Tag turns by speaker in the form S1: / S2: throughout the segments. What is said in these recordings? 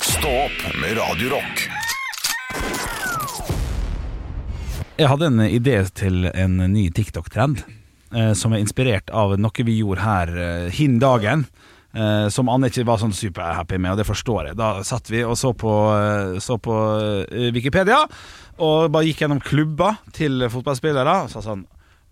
S1: Stå opp med Radio Rock.
S2: Jeg hadde en idé til en ny TikTok-trend eh, som er inspirert av noe vi gjorde her eh, hin dagen. Eh, som Anne ikke var sånn superhappy med, og det forstår jeg. Da satt vi og så på, eh, så på eh, Wikipedia, og bare gikk gjennom klubber til fotballspillere. Og sa sånn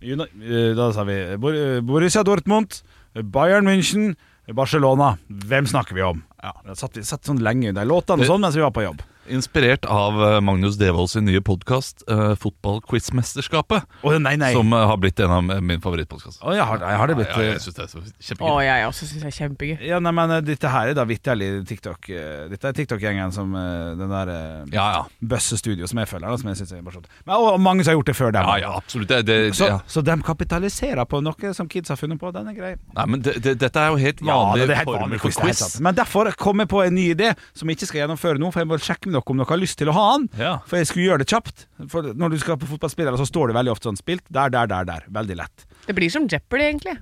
S2: Uni- eh, Da sa vi Bor Borussia Dortmund, Bayern München, Barcelona. Hvem snakker vi om? Ja, da satt vi satt sånn lenge under låtene og sånn mens vi var på jobb.
S3: Inspirert av eh, Magnus Devold sin nye podkast, uh, Fotballquizmesterskapet,
S2: Å nei, nei.
S3: som eh, har blitt en av eh, min favorittpodkast.
S2: Å, jeg har, jeg har det blitt eh,
S3: ja, jeg synes det er så
S4: Å,
S3: kjempegøy.
S4: jeg også syns det er kjempegøy.
S2: Ja, nei, men eh, dette her er da vitterlig TikTok eh, Dette er TikTok-gjengen som eh, den der ja.
S3: Ja, ja.
S2: Bøsse Studio som jeg følger da, Som jeg synes er morsomt Men og, og mange som har gjort det før dem
S3: ja, ja absolutt. Det, det, det,
S2: Så,
S3: ja.
S2: så de kapitaliserer på noe som kids har funnet på Den er grei
S3: Nei, men det, det, dette er jo helt
S2: det
S3: vanlige
S2: er helt vanlig
S3: former for
S2: det er helt
S3: quiz.
S2: sant. Men derfor kom jeg på en ny idé Som jeg ikke skal gjennomføre nå For jeg må sjekke med dere om dere har lyst til å ha den
S3: Ja.
S2: For jeg skulle gjøre det kjapt For når du skal på fotballspillere Så står det veldig ofte sånn Spilt der, der, der, der Veldig lett
S4: Det blir som Jeopardy, egentlig.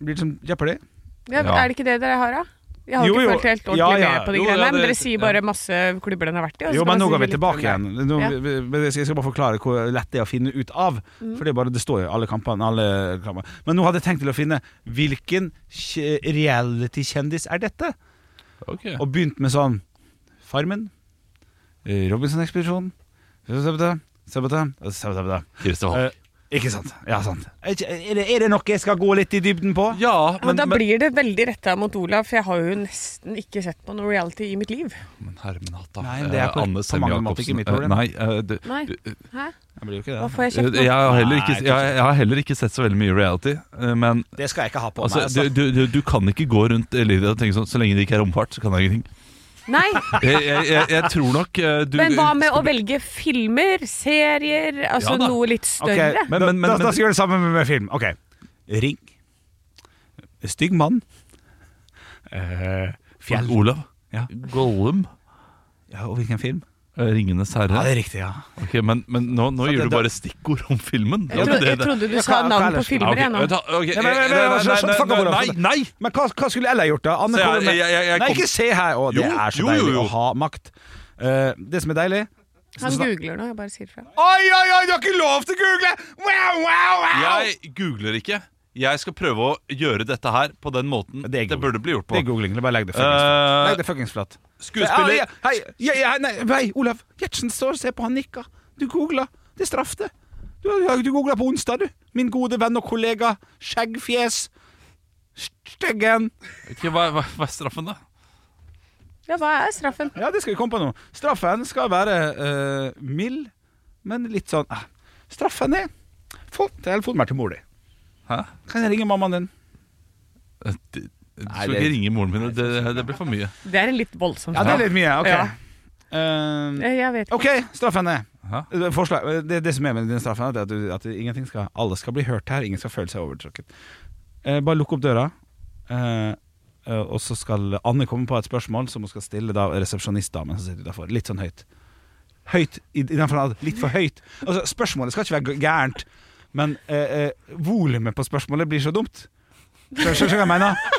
S2: Blir det som Jeopardy?
S4: Det,
S3: Ja.
S4: Er det ikke det dere har, da? Jeg har
S2: Jo, jo.
S4: ikke fulgt helt ordentlig
S2: Ja, ja.
S4: med på de
S3: Jo, ja,
S4: greiene, her, men
S3: det-
S4: dere sier bare masse klubber den har vært i. og så
S2: Jo,
S4: skal
S2: men
S4: man
S2: nå
S4: si
S2: går vi
S4: litt
S2: tilbake
S4: om det.
S2: igjen. Nå,
S4: Ja.
S2: vi- vi- Jeg skal bare forklare hvor lett det er å finne ut av.
S4: Mm.
S2: For det, er bare, det står jo i alle kampene. Alle kampene. Men nå hadde jeg tenkt til å finne hvilken kje- reality-kjendis er dette?
S3: Ok.
S2: Og begynt med sånn Farmen, eh, Robinson-ekspedisjonen Sabata, Sabata, Sabata.
S3: Christer Holm.
S2: Eh, Ikke sant? Ja, sant. Er ikke- er det, er det noe jeg skal gå litt i dybden på?
S3: ja,
S4: Men,
S3: men,
S4: da
S3: men,
S4: blir det veldig retta mot Olav, for jeg har jo nesten ikke sett på noe reality i mitt liv.
S3: men Hermenhatta
S2: Nei, det er
S3: eh,
S2: på- på mange måter ikke mitt problem.
S3: eh, Nei, eh, det, eh,
S4: Nei. Hæ?
S2: Jeg blir jo ikke
S4: Hva
S2: det.
S4: får jeg
S3: jeg,
S4: kjeft nå?
S3: har heller ikke,
S2: Nei,
S3: jeg, jeg har heller ikke sett så veldig mye reality, eh, men
S2: Det skal jeg ikke ha på
S3: altså,
S2: meg.
S3: du,
S2: Altså.
S3: du, du, du kan ikke gå rundt i livet og tenke sånn Så lenge det ikke er romfart, så kan jeg ingenting.
S4: Nei,
S3: Jeg, jeg, jeg, jeg tror nok eh, du,
S4: men hva med å velge filmer, serier, altså
S3: Ja da.
S4: noe litt
S2: Ok,
S4: større?
S3: Men-
S2: da,
S3: men- men-
S2: da, da skal vi gjøre det samme med, med film. Ok. Ring. Stygg mann. Eh, fjell.
S3: Olav?
S2: Ja.
S3: Gollum?
S2: Ja, og hvilken film?
S3: Eh, Ringenes herre?
S2: Ja, det er riktig, ja.
S3: Ok, men, men nå, nå
S2: Så
S3: gir
S2: det-
S3: du bare stikkord om filmen.
S4: Jeg, trodde, jeg trodde du
S2: Ja,
S4: sa
S2: hva- hva
S4: navn på
S2: ellers?
S4: filmer, jeg
S3: Ja,
S4: nå.
S3: ok, ta- ok,
S2: Nei, nei, nei, nei,
S3: eh,
S2: nei, nei,
S3: fuck
S2: nei,
S3: Olav,
S2: nei,
S3: fuck Olav.
S2: Men hva, hva skulle Ella gjort, da? Anne
S3: Så jeg-
S2: kommer med
S3: jeg- jeg- jeg
S2: Nei,
S3: kom-
S2: ikke se her! Å, det
S3: Jo,
S2: er så
S3: jo, jo,
S2: deilig
S3: jo.
S2: å ha makt. Eh, det som er deilig
S4: Han googler nå, jeg bare sier fra.
S2: Oi, oi, oi, du har ikke lov til å google! Wow, wow, wow!
S3: Jeg googler ikke. Jeg skal prøve å gjøre dette her på den måten
S2: Det er
S3: det,
S2: god.
S3: burde bli gjort
S2: Det
S3: på.
S2: er googling. det er Bare legg det fuckings flatt. Legg
S3: Eh,
S2: det fuckings flatt.
S3: skuespiller
S2: Ja, Hei, ja, ja, nei, nei, Olav. Gjertsen står og ser på han nikker. Du googla. Det er straff, det. Du, du googla på onsdag, du. Min gode venn og kollega Skjeggfjes. Steggen.
S3: Ok, hva, hva, hva er straffen, da?
S4: Ja, hva er straffen?
S2: Ja, det skal vi komme på nå. Straffen skal være eh, mild, men litt sånn eh. Straffen er Få telefonen her til mor di.
S3: Hæ?
S2: Kan jeg ringe mammaen din?
S3: Eh, Du du
S2: Nei,
S3: skal
S2: det-
S3: ikke ringe moren min. Det, det blir for mye.
S4: Det er en litt voldsom
S2: Ja, det er
S4: straff.
S2: litt mye. Ok.
S4: Ja.
S2: Eh,
S4: Eh, Jeg vet ikke.
S2: OK, straffen er
S3: Hæ?
S2: Eh, Forslag, eh, det, det som er med den straffen, er at, du, at du, ingenting skal, alle skal bli hørt her. Ingen skal føle seg overtrukket. Eh, bare lukk opp døra, eh, eh, og så skal Anne komme på et spørsmål som hun skal stille da resepsjonistdamen som sitter utenfor. Litt sånn høyt. Høyt, i, i den forstand at litt for høyt. Altså, spørsmålet skal ikke være g- gærent, men eh, eh, volumet på spørsmålet blir så dumt. Skjønner skjønner du hva jeg mener?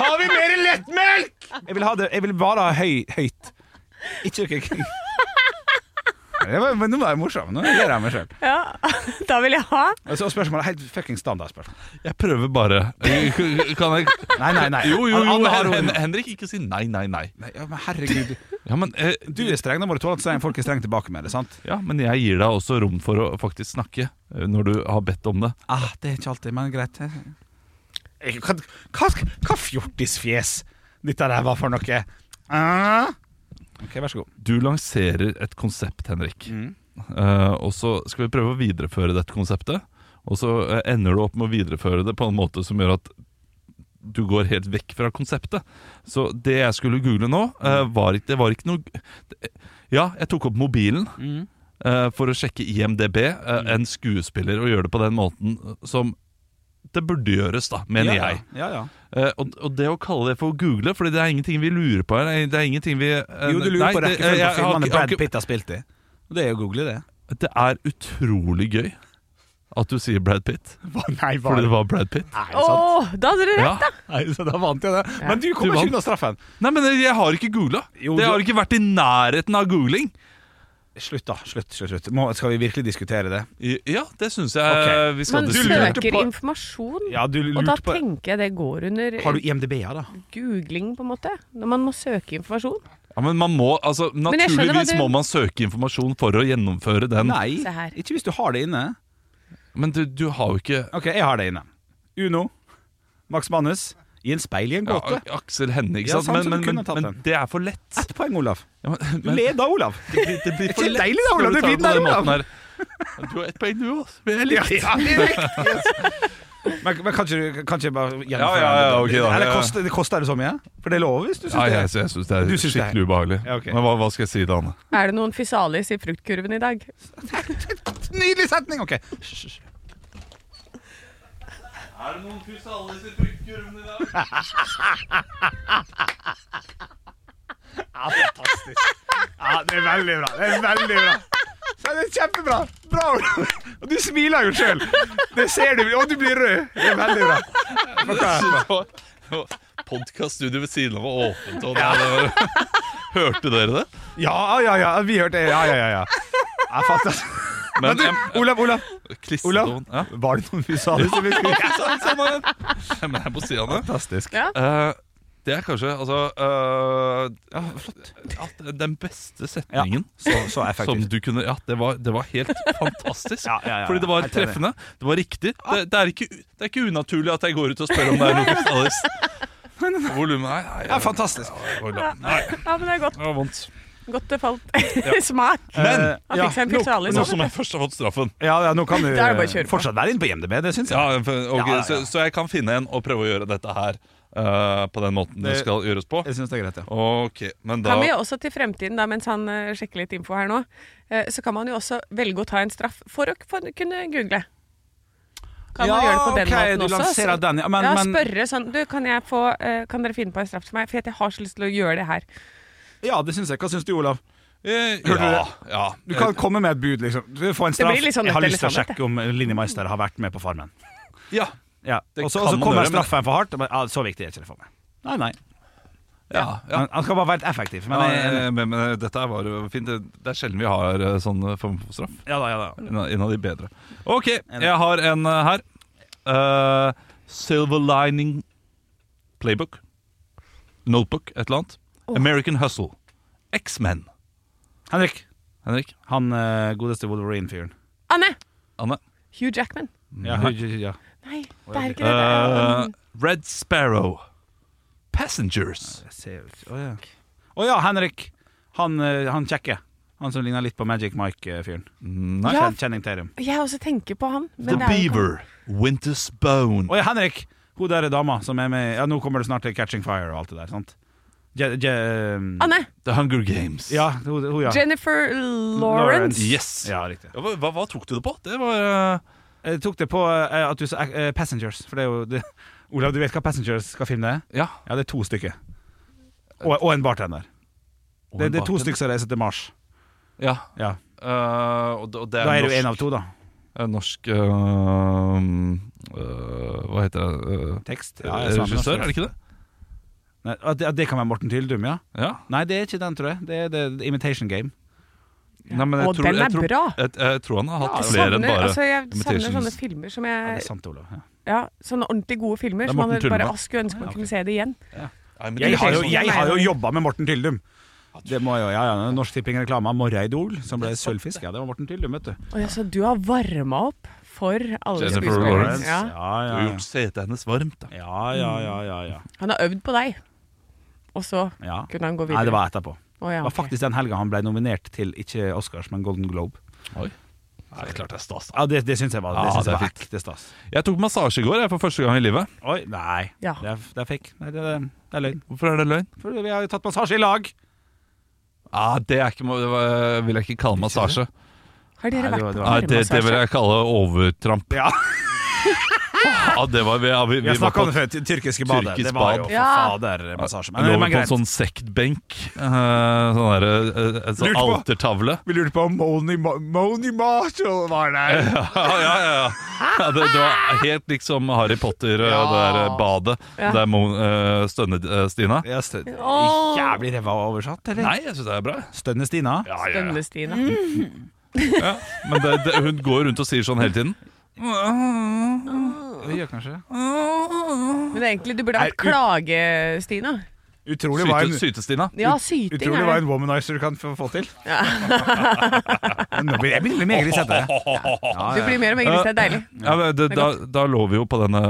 S2: Har vi mer lettmelk?! Jeg vil, ha det, jeg vil bare ha høy, høyt. Ikke okay. Det var, men nå var jeg morsom. Nå ler jeg meg sjøl.
S4: Ja, da vil jeg ha.
S2: Altså, og spørsmålet er helt fucking standardspørsmål.
S3: Jeg prøver bare. Kan jeg
S2: Nei, nei, nei.
S3: Jo, jo, jo.
S2: Alle har
S3: Hen,
S2: ord.
S3: Hen- Henrik, ikke si nei, nei, nei.
S2: Nei, ja, men herregud.
S3: Ja, men, eh,
S2: Du er streng, da må du tåle at streng- folk er strenge tilbake med det. sant?
S3: ja, men jeg gir deg også rom for å faktisk snakke eh, når du har bedt om det.
S2: Ah, Det er ikke alltid, men greit. Jeg- Hva, hva, hva fjortisfjes dette der var for noe? Ah. Ok, vær så god.
S3: Du lanserer et konsept, Henrik.
S2: Mm.
S3: Eh, og så skal vi prøve å videreføre dette konseptet. Og så eh, ender du opp med å videreføre det på en måte som gjør at du går helt vekk fra konseptet. Så det jeg skulle google nå, eh,
S2: Mm.
S3: var ikke, det var ikke noe det- Ja, jeg tok opp mobilen
S2: Mm.
S3: eh, for å sjekke IMDb, eh, en skuespiller, og gjøre det på den måten som det burde gjøres, da, mener
S2: ja,
S3: jeg.
S2: Ja, ja.
S3: Eh, og, og det å kalle det for å google, Fordi det er ingenting vi lurer på her. nei, Det er ingenting vi eh,
S2: Jo, du lurer
S3: nei,
S2: på
S3: det- eh,
S2: rekkefølgen på
S3: jeg har ikke-
S2: filmene
S3: jeg har
S2: Brad
S3: ikke-
S2: Pitt har spilt i. Og det er jo å google, det.
S3: det er utrolig gøy. at du sier Brad Pitt.
S2: Nei,
S3: Fordi
S2: var
S3: det var Brad Pitt.
S2: Nei,
S4: Å,
S2: sant.
S4: da hadde dere rett!
S3: Ja.
S2: Nei, så da vant jeg det. Men du
S3: Du
S2: kommer
S3: vant.
S2: ikke unna straffen.
S3: Nei, men eh, jeg har ikke googla.
S2: Jo,
S3: Jeg
S2: du-
S3: har ikke vært i nærheten av googling.
S2: Slutt, da. Slutt, slutt, slutt. Må, skal vi virkelig diskutere det?
S3: I- Ja, det syns jeg
S2: Ok.
S3: vi skal
S4: Man
S3: diskutere.
S2: lurte
S4: søker
S2: på-
S4: informasjon,
S2: Ja, du
S4: og da
S2: lurte på
S4: tenker jeg det går under
S2: Har du IMDb-a, da?
S4: googling, på en måte. Når man må søke informasjon.
S3: Ja, men man må, altså,
S4: jeg skjønner hva
S3: naturligvis
S4: du-
S3: må man søke informasjon for å gjennomføre den.
S2: Nei,
S4: Se her.
S2: ikke hvis du har det inne.
S3: Men du, du har jo ikke
S2: Ok, jeg har det inne. Uno, Max Manus, i en speil i en
S3: ja,
S2: gåte.
S3: Aksel Hennie, ikke
S2: Ja,
S3: sant?
S2: sant, så
S3: men,
S2: du
S3: men,
S2: kunne tatt
S3: men, men
S2: den.
S3: det er for lett.
S2: Ett poeng, Olav.
S3: Ja, men,
S2: Du leder, Olav.
S3: det, blir- det blir
S2: Det er deilig da, Olav,
S3: når
S2: du
S3: tar det på
S2: vinner,
S3: den
S2: Olav.
S3: måten her. Du har ett poeng, du også. Vi er
S2: Ja,
S3: likt.
S2: ja, det er riktig, yes. Men, men kan ikke du kan ikke jeg bare
S3: Ja, ja, ja, ok da.
S2: Eller
S3: Ja.
S2: koster, det koster det så mye? For det er lov hvis du syns
S3: Ja,
S2: det.
S3: jeg, jeg syns det er
S2: Du synes det er-
S3: skikkelig ubehagelig.
S2: Ja, ok.
S3: Men hva, hva skal jeg si da, Anne?
S4: Er det noen fysalis i fruktkurven i dag?
S2: Nydelig setning! Ok.
S3: Er det noen fysalis i fruktkurven i dag?
S2: Ja, fantastisk. Ja, det er veldig bra. Det er veldig bra. Så det er kjempebra. Bra, Olav. Og du smiler jo sjøl. Det ser du. Og du blir rød. Det er veldig bra.
S3: Podkaststudioet ved siden av var åpent, og der, Hørte dere det?
S2: Ja, ja, ja. Vi hørte Ja, ja, ja. ja. ja fantastisk. Men du, Olav, Olav. Olav,
S3: Klissetonen. Ja.
S2: var det noen vi sa det som vi skulle
S3: Sant, sånn er det. Ja, Men jeg må si, Anne
S2: Fantastisk.
S4: Ja.
S3: eh, Det er kanskje altså, eh, at Den beste setningen
S2: Så, så
S3: som
S2: effektivt.
S3: du kunne Ja, det var, det var helt fantastisk.
S2: Ja, ja, ja, ja.
S3: Fordi det var
S2: Helt enig. Ah.
S3: treffende, det var riktig. Det, det, er ikke, u- det er ikke unaturlig at jeg går ut og spør om det er noe kristallis. Volumet Nei, nei,
S2: Ja,
S4: Eh,
S2: fantastisk.
S3: jeg- nei, det
S4: Ja, men det er godt.
S3: var vondt.
S4: Godt det falt smak.
S2: Eh,
S3: Men
S4: Han fikk seg en fysalis.
S3: nå som jeg først har fått straffen
S2: Ja, ja, nå kan du
S4: Da er det bare å kjøre på.
S2: fortsatt være inne på IMDb, det syns jeg.
S3: ja, for- ok,
S2: Ja, ja.
S3: Så, så jeg kan finne en og prøve å gjøre dette her eh, på den måten det
S2: Det-
S3: skal gjøres på.
S2: Jeg syns det er greit, ja.
S3: Ok, men da
S4: Kan vi også til fremtiden, da, mens han eh, sjekker litt info her nå, eh, så kan man jo også velge å ta en straff for å k- for å kunne google. Kan man
S2: Ja,
S4: gjøre det på den
S2: ok,
S4: måten
S2: du
S4: også?
S2: lanserer
S4: Så-
S2: den, ja, men-
S4: ja,
S2: men-
S4: spørre sånn Du, kan, jeg få, eh, kan dere finne på en straff til meg? For jeg har så lyst til å gjøre det her.
S2: Ja, det syns jeg. Hva syns du, Olav?
S3: Eh,
S2: Hørte du
S3: ja,
S2: det?
S3: ja.
S2: Du kan komme med et bud, liksom. Du får en straff.
S4: blir litt sånn
S2: jeg har
S4: nødt
S2: lyst til å
S4: eller sannhet,
S2: sjekke om Linni Meister har vært med på Farmen.
S3: Eh, ja.
S2: Ja.
S3: Det
S2: Og så
S3: kan
S2: og så
S3: man
S2: kommer
S3: gjøre, men-
S2: straffen for hardt. og bare, Ja, så viktig er ikke det for meg. Nei, nei.
S3: ja, ja.
S2: Men, han skal bare være effektiv. Men
S3: Ja,
S2: jeg,
S3: eh, men, men dette her var jo fint. Det det er sjelden vi har eh, sånn form for straff.
S2: ja da, ja da.
S3: En av, en av de bedre. OK, jeg har en eh, her. Eh, Silver Lining Playbook. Notebook, et eller annet. American Hustle. X-Men.
S2: Henrik.
S3: Henrik?
S2: Han eh, godeste Wolverine-fyren.
S4: Anne!
S3: Anne?
S4: Hugh Jackman.
S2: Ja,
S3: Nei.
S2: ja, ja.
S4: Nei, det er ikke det. det er- um,
S3: Eh, Red Sparrow. Passengers.
S2: Jeg ser jo ikke Å ja. Å ja, Henrik. Han, eh, han kjekke. Han som ligner litt på Magic Mike-fyren.
S3: Mm, Nei.
S4: Ja.
S2: Kjen- Channing Tatum.
S4: Jeg også tenker på han.
S3: The
S4: Men det er jo ikke-
S3: Beaver. Winter's Bone.
S2: Å ja, Henrik! Hun der er dama som er med Ja, nå kommer det snart til Catching Fire og alt det der, sant? Je, je,
S4: Anne!
S3: The Hunger Games.
S2: Ja, hun, hun ja.
S4: Jennifer Lawrence.
S3: Yes.
S2: Ja, riktig.
S3: Ja, Hva, hva, hva tok du det på? Det var eh,
S2: Jeg tok det på eh, at du sa eh, Passengers. For det er jo det. Olav, du vet hva Passengers skal filme? det er?
S3: Ja.
S2: Ja, det er to stykker. Og, og en bartender. Det, det er to stykker som reiser til Mars.
S3: Ja.
S2: Ja.
S3: eh, og, det- og det er
S2: Da er det jo
S3: norsk,
S2: én av to, da.
S3: eh, norsk eh, eh, Hva heter det? Eh,
S2: Tekst.
S3: regissør, er det ikke det?
S2: Nei, at, det- at det kan være Morten Tyldum, ja?
S3: Ja.
S2: Nei, det er ikke den, tror jeg. Det er The Imitation Game.
S3: Nei, men jeg
S4: Og
S3: tror-
S4: den er
S3: jeg tror,
S4: bra.
S3: Jeg, jeg tror han har hatt
S4: Jeg
S3: flere enn
S4: savner-
S3: bare
S4: altså, jeg savner
S3: Imitations.
S4: sånne filmer som
S2: Ja,
S4: jeg
S2: det er sant, Olav. Ja.
S4: Ja, sånne ordentlig gode filmer
S3: Det er
S4: som man
S3: Morten
S4: bare
S3: Thunberg.
S4: Å, skulle ønske man
S2: Ja, ok.
S4: kunne se det igjen.
S3: Nei, men
S2: Jeg sånn- har jo,
S3: Imitations-
S2: jeg har jo jobba med Morten Tyldum. Det må jo, ja, ja, Norsk Tipping-reklame av Morreidol, som ble sølvfisk. Ja, det var Morten Tyldum, vet du.
S4: Og jeg, så du har varma opp for alle
S3: Jennifer
S4: skuespillerne.
S3: Lawrence.
S4: Ja.
S2: Ja,
S3: Du
S2: ja,
S3: har
S2: ja.
S3: gjort setet hennes varmt, da.
S2: Ja, ja, ja, ja, ja.
S4: Han har øvd på deg, og så
S2: ja.
S4: kunne han gå videre.
S2: Nei, det var etterpå.
S4: Å, ja,
S2: Det var
S4: ok.
S2: faktisk den helga han ble nominert til ikke Oscars, men Golden Globe.
S3: Oi. Nei, det er klart det er stas, da.
S2: Ja, Det, det syns jeg var, det
S3: Ja,
S2: syns
S3: det
S2: jeg
S3: er
S2: var
S3: fint.
S2: ekte stas.
S3: Jeg tok massasje i går jeg, for første gang i livet.
S2: Oi, nei.
S4: Ja.
S2: Det, er, det er fake. Nei, det, er, det er løgn.
S3: Hvorfor er det løgn?
S2: For vi har jo tatt massasje i lag.
S3: Ah, det er ikke, det var- vil jeg ikke kalle massasje.
S4: Har dere
S2: Nei, det
S4: vært
S2: var-
S4: på
S2: var-
S3: Nei, det, det vil
S4: varmeassasje?
S3: jeg kalle overtramp.
S2: Ja.
S3: Ja, det var, vi, ja, vi,
S2: Vi
S3: vi var
S2: snakka
S3: på,
S2: om det før, ty- tyrkiske badet.
S3: Tyrkisk
S2: Det var jo
S3: bad.
S2: for
S4: Ja.
S2: fader massasje.
S3: lå
S2: Men,
S3: vi
S2: men
S3: på en
S2: greit.
S3: sånn sektbenk. eh, sånn derre eh, en sånn
S2: Lurte på.
S3: altertavle.
S2: Vi lurte på om Moni, Moni Marshall var der.
S3: Ja, ja, ja. ja det, det var helt liksom Harry Potter, eh,
S2: Ja.
S3: det der eh, badet
S4: Ja.
S3: der Mo- eh, stønner eh, Stina.
S2: Ja, stø-
S4: Åh.
S2: Jævlig ræva oversatt, eller?
S3: Nei, jeg syns det er bra.
S2: Stønner Stina?
S3: Ja, ja, ja.
S4: Stønne-Stina.
S3: Ja. Men det, det, hun går rundt og sier sånn hele tiden.
S2: Det gjør kanskje.
S4: Mm. Men egentlig, du burde
S2: Er
S4: hatt
S2: ut-
S4: Klage-Stina.
S2: Utrolig hva en,
S3: Syte- Syte-Stina.
S4: Ja, syting
S2: utrolig hva
S4: er det.
S2: en womanizer kan få, få til. Nå blir jeg blir meget litt sette. Ja,
S4: Du
S2: ja.
S4: blir mer og mer grisete. Det er deilig.
S3: Ja, men det, da, da lå vi jo på denne,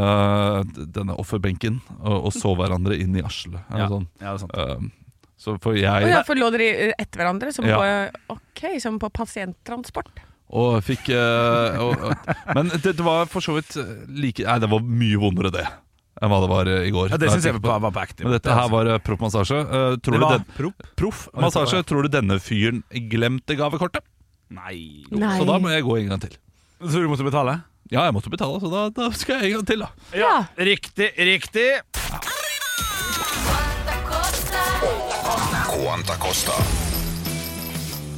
S3: denne offerbenken og, og så hverandre inn i arslet. eller
S2: Ja,
S3: Sånn.
S2: ja, det er sant.
S3: Um, så for
S4: Å ja,
S3: jeg
S4: for lå dere i- eh, etter hverandre? Som,
S3: Ja.
S4: på, ok, som på pasienttransport?
S3: og fikk eh, og, og- Men det, det var for så vidt eh, like Nei, det var mye vondere det enn hva det var eh, i går.
S2: Ja, det syns jeg
S3: tenkte
S2: var, var på ekte.
S3: Men dette her var eh, proff massasje. Eh,
S2: altså. det
S3: tror du
S2: var
S3: den,
S2: propp?
S3: proff massasje. Tror du denne fyren glemte gavekortet?
S2: Nei.
S3: Jo,
S4: Nei.
S3: Så da må jeg gå en gang til.
S2: Så du måtte betale?
S3: Ja, jeg måtte betale, så da, da skal jeg en gang til, da.
S4: Ja.
S2: Riktig, riktig.
S1: Quanta Costa.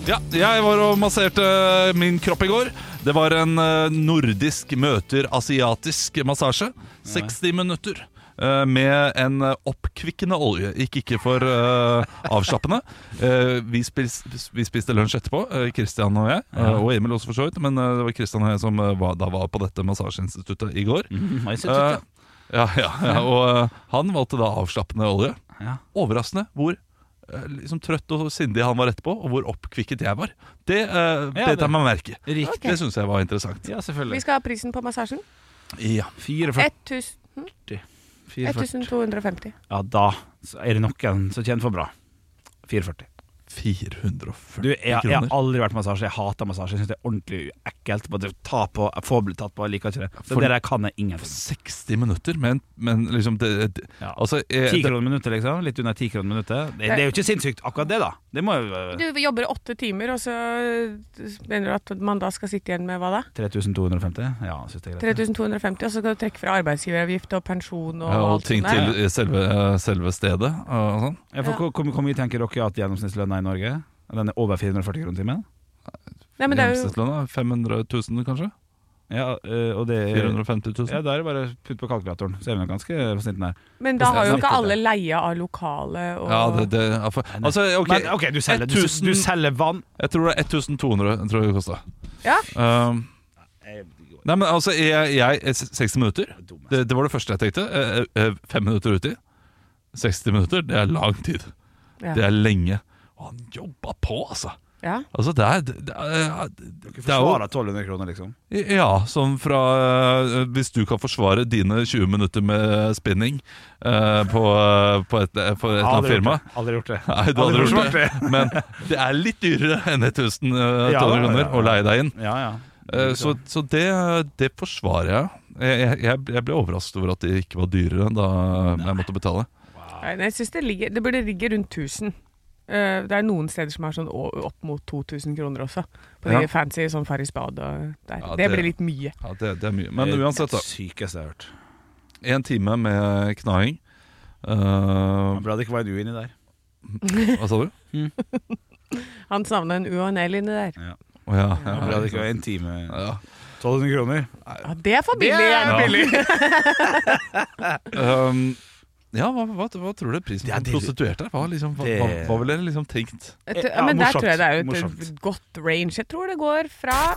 S3: Ja, jeg var og masserte eh, min kropp i går. Det var en eh, nordisk møter asiatisk massasje. 60 minutter. eh, Med en eh, oppkvikkende olje. Gikk ikke for eh, avslappende. Eh, vi, spis, vi spiste lunsj etterpå, eh, Christian og jeg. eh, og Emil også, for så vidt. Men eh, det var Christian og jeg som eh, var, da var på dette massasjeinstituttet i går.
S2: Mm,
S3: Eh, ja, ja, ja, og eh, han valgte da avslappende olje.
S2: Ja.
S3: Overraskende hvor eh, liksom trøtt og sindig han var etterpå, og hvor oppkvikket jeg var. Det uh,
S2: Ja,
S3: bet
S2: det-
S3: jeg meg merke.
S2: Riktig.
S3: Det syns jeg var interessant.
S2: Ja,
S4: Vi
S2: selvfølgelig.
S4: skal ha prisen på massasjen. hm?
S3: Ja.
S2: 44.
S4: 1000
S2: 44.
S4: 1250.
S2: Ja, da så er det noen som kjenner for bra. 44.
S3: 440
S2: Du, jeg, jeg har
S3: kroner.
S2: aldri vært massasje. Jeg hater massasje. Jeg syns det er ordentlig ekkelt. Bare ta på, få bli tatt på, jeg liker ikke det. Så
S3: For-
S2: det der kan jeg ingenting.
S3: 60 minutter, men, men liksom det, det,
S2: Ja.
S3: altså, eh,
S2: 10
S3: det,
S2: kroner minuttet, liksom. Litt under 10 kroner minuttet. Det, det er jo ikke sinnssykt, akkurat det, da. Det må jo eh,
S4: Du jobber åtte timer, og så eh, mener du at man da skal sitte igjen med hva da?
S2: 3250? Ja, syns jeg er greit.
S4: 3250, og så skal du trekke fra arbeidsgiveravgift og pensjon og,
S3: ja, og
S4: alt
S3: ting
S4: sånt der.
S3: til i selve, selve stedet og sånn.
S2: Ja, for hvor- Hvor hvor mye tenker dere at gjennomsnittslønna i Norge Den er over 440 kroner timen?
S4: Nei, men det er jo
S3: Gjennomsnittslønna er 500 000, kanskje?
S2: Ja, eh, og det
S3: 450 000?
S2: Ja, da er det bare å putte på kalkulatoren, så er vi nok ganske på snitten her.
S4: Men da har jo ikke
S2: Samtidig.
S4: alle leia av lokale og
S3: Ja, det, det ja, for, Altså, ok,
S2: Men eh, OK, du selger, du,
S3: 1000
S2: du selger vann.
S3: Jeg tror det er 1200 tror jeg det kosta.
S4: Ja.
S3: Um, nei, men altså, jeg, jeg 60 minutter. Det, det var det første jeg tenkte. Eh, eh, Fem minutter uti. 60 minutter, det er lang tid.
S4: ja.
S3: Det er lenge. Og han jobba på, altså.
S4: ja.
S3: Altså, det er, det er, det er jo
S2: Forsvarer 1200 kroner, liksom.
S3: Ja, sånn fra eh, Hvis du kan forsvare dine 20 minutter med spinning eh, på, eh, på et, på et eller annet
S2: Aldri gjort
S3: firma
S2: det. Aldri gjort det.
S3: Nei, du
S2: Aldri
S3: hadde gjort
S2: forsvart
S3: det. Men det er litt dyrere enn 1000
S2: Ja,
S3: eh, dollar
S2: ja,
S3: kroner
S2: ja,
S3: å leie deg inn.
S2: Ja, ja.
S3: Eh, Så, så det, det forsvarer jeg. Jeg, jeg. jeg ble overrasket over at det ikke var dyrere da jeg måtte betale.
S4: Nei, jeg synes det ligger Det burde ligge rundt 1000. Eh, det er noen steder som er sånn å- opp mot 2000 kroner også. På de
S3: Ja.
S4: fancy sånn Farris bad og der.
S3: Ja,
S4: det,
S3: det-
S4: blir litt mye.
S3: Ja, det, det er mye. Men uansett, da.
S2: Det sykeste jeg har hørt.
S3: Én time med knaing. Eh,
S2: Men Bra det ikke var en U inni der.
S3: hva sa du?
S4: Han savna en U og en L inni der.
S3: Å ja.
S2: Bra det ikke
S3: ja,
S2: var en time.
S3: ja.
S2: 1200 kroner.
S4: Ja, det er for billig!
S3: er
S4: gjerne.
S3: billig. Um, ja, hva, hva, hva tror du prisen
S2: Det
S3: på
S2: er
S3: en
S2: det-
S3: prostituert er? Hva, liksom, hva,
S2: Det-
S3: hva, hva ville dere liksom tenkt?
S4: Jeg tror-
S2: Ja,
S4: men der
S2: morsomt,
S4: tror jeg det er jo et
S2: morsomt.
S4: godt range. Jeg tror det går fra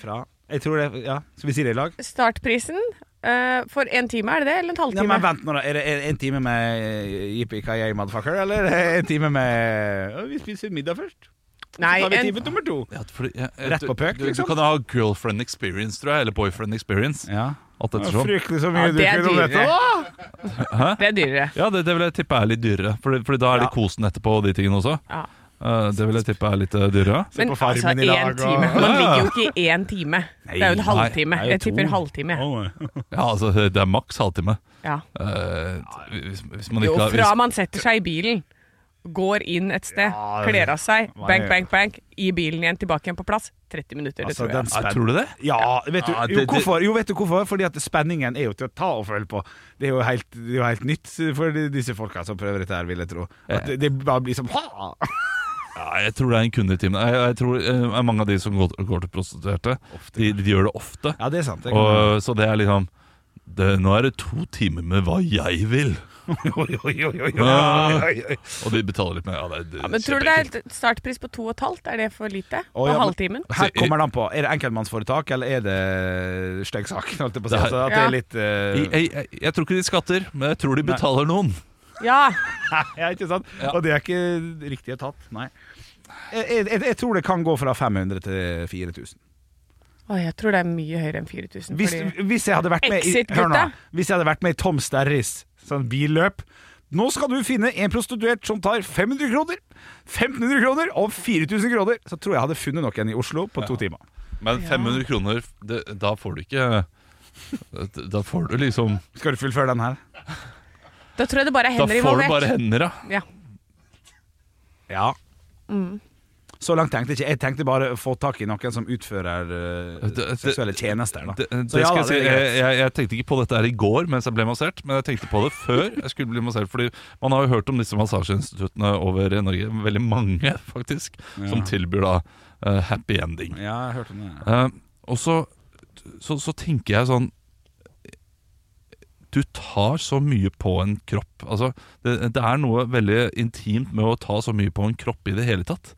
S2: Fra Jeg tror det Ja, så vi sier det i lag?
S4: startprisen eh, for en time, er det det? Eller en
S2: Ja,
S4: halvtime?
S2: men vent nå, da. Er det en, en time med eh, Jippi Kayay Motherfucker, eller er det en time med «Å, Vi spiser middag først.
S4: Nei,
S2: Så tar vi
S4: en,
S2: time nummer to.
S3: Ja, fordi, ja,
S2: Rett på pøk,
S3: du, du,
S2: liksom?
S3: du kan ha girlfriend experience, tror jeg. Eller boyfriend experience.
S2: Ja.
S3: Alt
S2: Det
S3: ettersom.
S2: var fryktelig så mye
S4: ja,
S2: du
S4: det er
S2: kunne om dette.
S4: dyrere.
S2: Åh!
S4: Det er dyrere.
S3: Ja, det, det vil jeg tippe er litt dyrere. Fordi, fordi da er det
S2: Ja.
S3: kosen etterpå og de tingene også.
S4: Ja.
S3: Eh, det vil jeg tippe er litt eh, dyrere.
S2: Se
S4: Men
S2: på
S4: altså,
S2: Farmen i dag,
S4: én
S2: og-
S4: time. Man ligger jo ikke i én time. Det er jo en
S3: Nei,
S4: halvtime.
S2: det er jo
S4: Jeg tipper
S2: to.
S4: halvtime. jeg.
S3: Ja, altså, det er maks halvtime.
S4: Ja.
S3: Eh, hvis, hvis man
S4: Jo,
S3: ikke har
S4: fra
S3: hvis,
S4: man setter seg i bilen går inn et sted,
S2: Ja, det-
S4: kler av seg,
S2: Nei.
S4: bank, bank, bank, i bilen igjen, tilbake igjen på plass. 30 minutter, det
S2: Altså,
S4: tror jeg.
S2: den
S3: Ja,
S2: spenn-
S3: tror du det?
S2: Ja, vet du,
S3: Ja, det-
S2: jo,
S3: det-
S2: hvorfor? jo, vet du hvorfor? Fordi at spenningen er jo til å ta og føle på. Det er jo helt, det er jo helt nytt for de- disse folka som prøver dette her, vil jeg tro. At det, det bare blir som ha!
S3: Ja, jeg tror det er en kunde i timen. Jeg, jeg tror eh, mange av de som går, går til prostituerte, de, de gjør det ofte.
S2: Ja, det er sant. Det kan være.
S3: Og, så det er liksom det, Nå er det to timer med hva jeg vil,
S2: Oi, oi, oi, oi, oi, oi, oi.
S3: og de betaler litt mer. Ja, det, det,
S4: Ja, men tror du det er helt startpris på to og et halvt? Er det for lite?
S2: Å,
S4: og
S2: ja, men-
S4: halvtimen?
S2: Her kommer det an på. Er det enkeltmannsforetak, eller er det stygg sak? Holdt jeg på å si. Altså, at det
S4: Ja.
S2: er litt eh,
S3: jeg, jeg, jeg, jeg tror ikke de skatter, men jeg tror de
S2: Nei.
S3: betaler noen.
S4: Ja.
S2: Ja, ikke sant?
S3: Ja.
S2: Og det er ikke riktig etat, nei. Jeg, jeg, jeg tror det kan gå fra 500 til 4000.
S4: Å, jeg tror det er mye høyere enn 4000.
S2: Hvis,
S4: Fordi...
S2: hvis jeg hadde vært med i,
S4: Exit,
S2: hør nå,
S4: gutta.
S2: hvis jeg hadde vært med i Tom Sterris sånn billøp Nå skal du finne en prostituert som tar 500 kroner, 1500 kroner og 4000 kroner. Så tror jeg jeg hadde funnet noen i Oslo på to timer.
S3: Men
S4: Ja.
S3: 500 kroner, det, da får du ikke Da får du liksom
S2: Skal du fullføre den her?
S4: Da tror jeg det bare er
S3: Da
S4: hender
S3: får du
S4: involvert.
S3: bare hender, da.
S4: Ja.
S2: Ja. Så langt tenkte jeg ikke. Jeg tenkte bare å få tak i noen som utfører eh,
S3: Det- det-
S2: seksuelle tjenester. Da.
S3: Det, det
S2: Så ja
S3: skal
S2: da,
S3: jeg, si,
S2: det er
S3: jeg,
S2: greit.
S3: jeg, jeg tenkte ikke på dette her i går mens jeg ble massert, men jeg tenkte på det før jeg skulle bli massert. Fordi man har jo hørt om disse massasjeinstituttene over i Norge, veldig mange faktisk, som tilbyr da eh, happy ending.
S2: Ja, jeg hørte om det.
S3: Eh, og så, så, så tenker jeg sånn Du tar så mye på en kropp. Altså, det, det er noe veldig intimt med å ta så mye på en kropp i det hele tatt.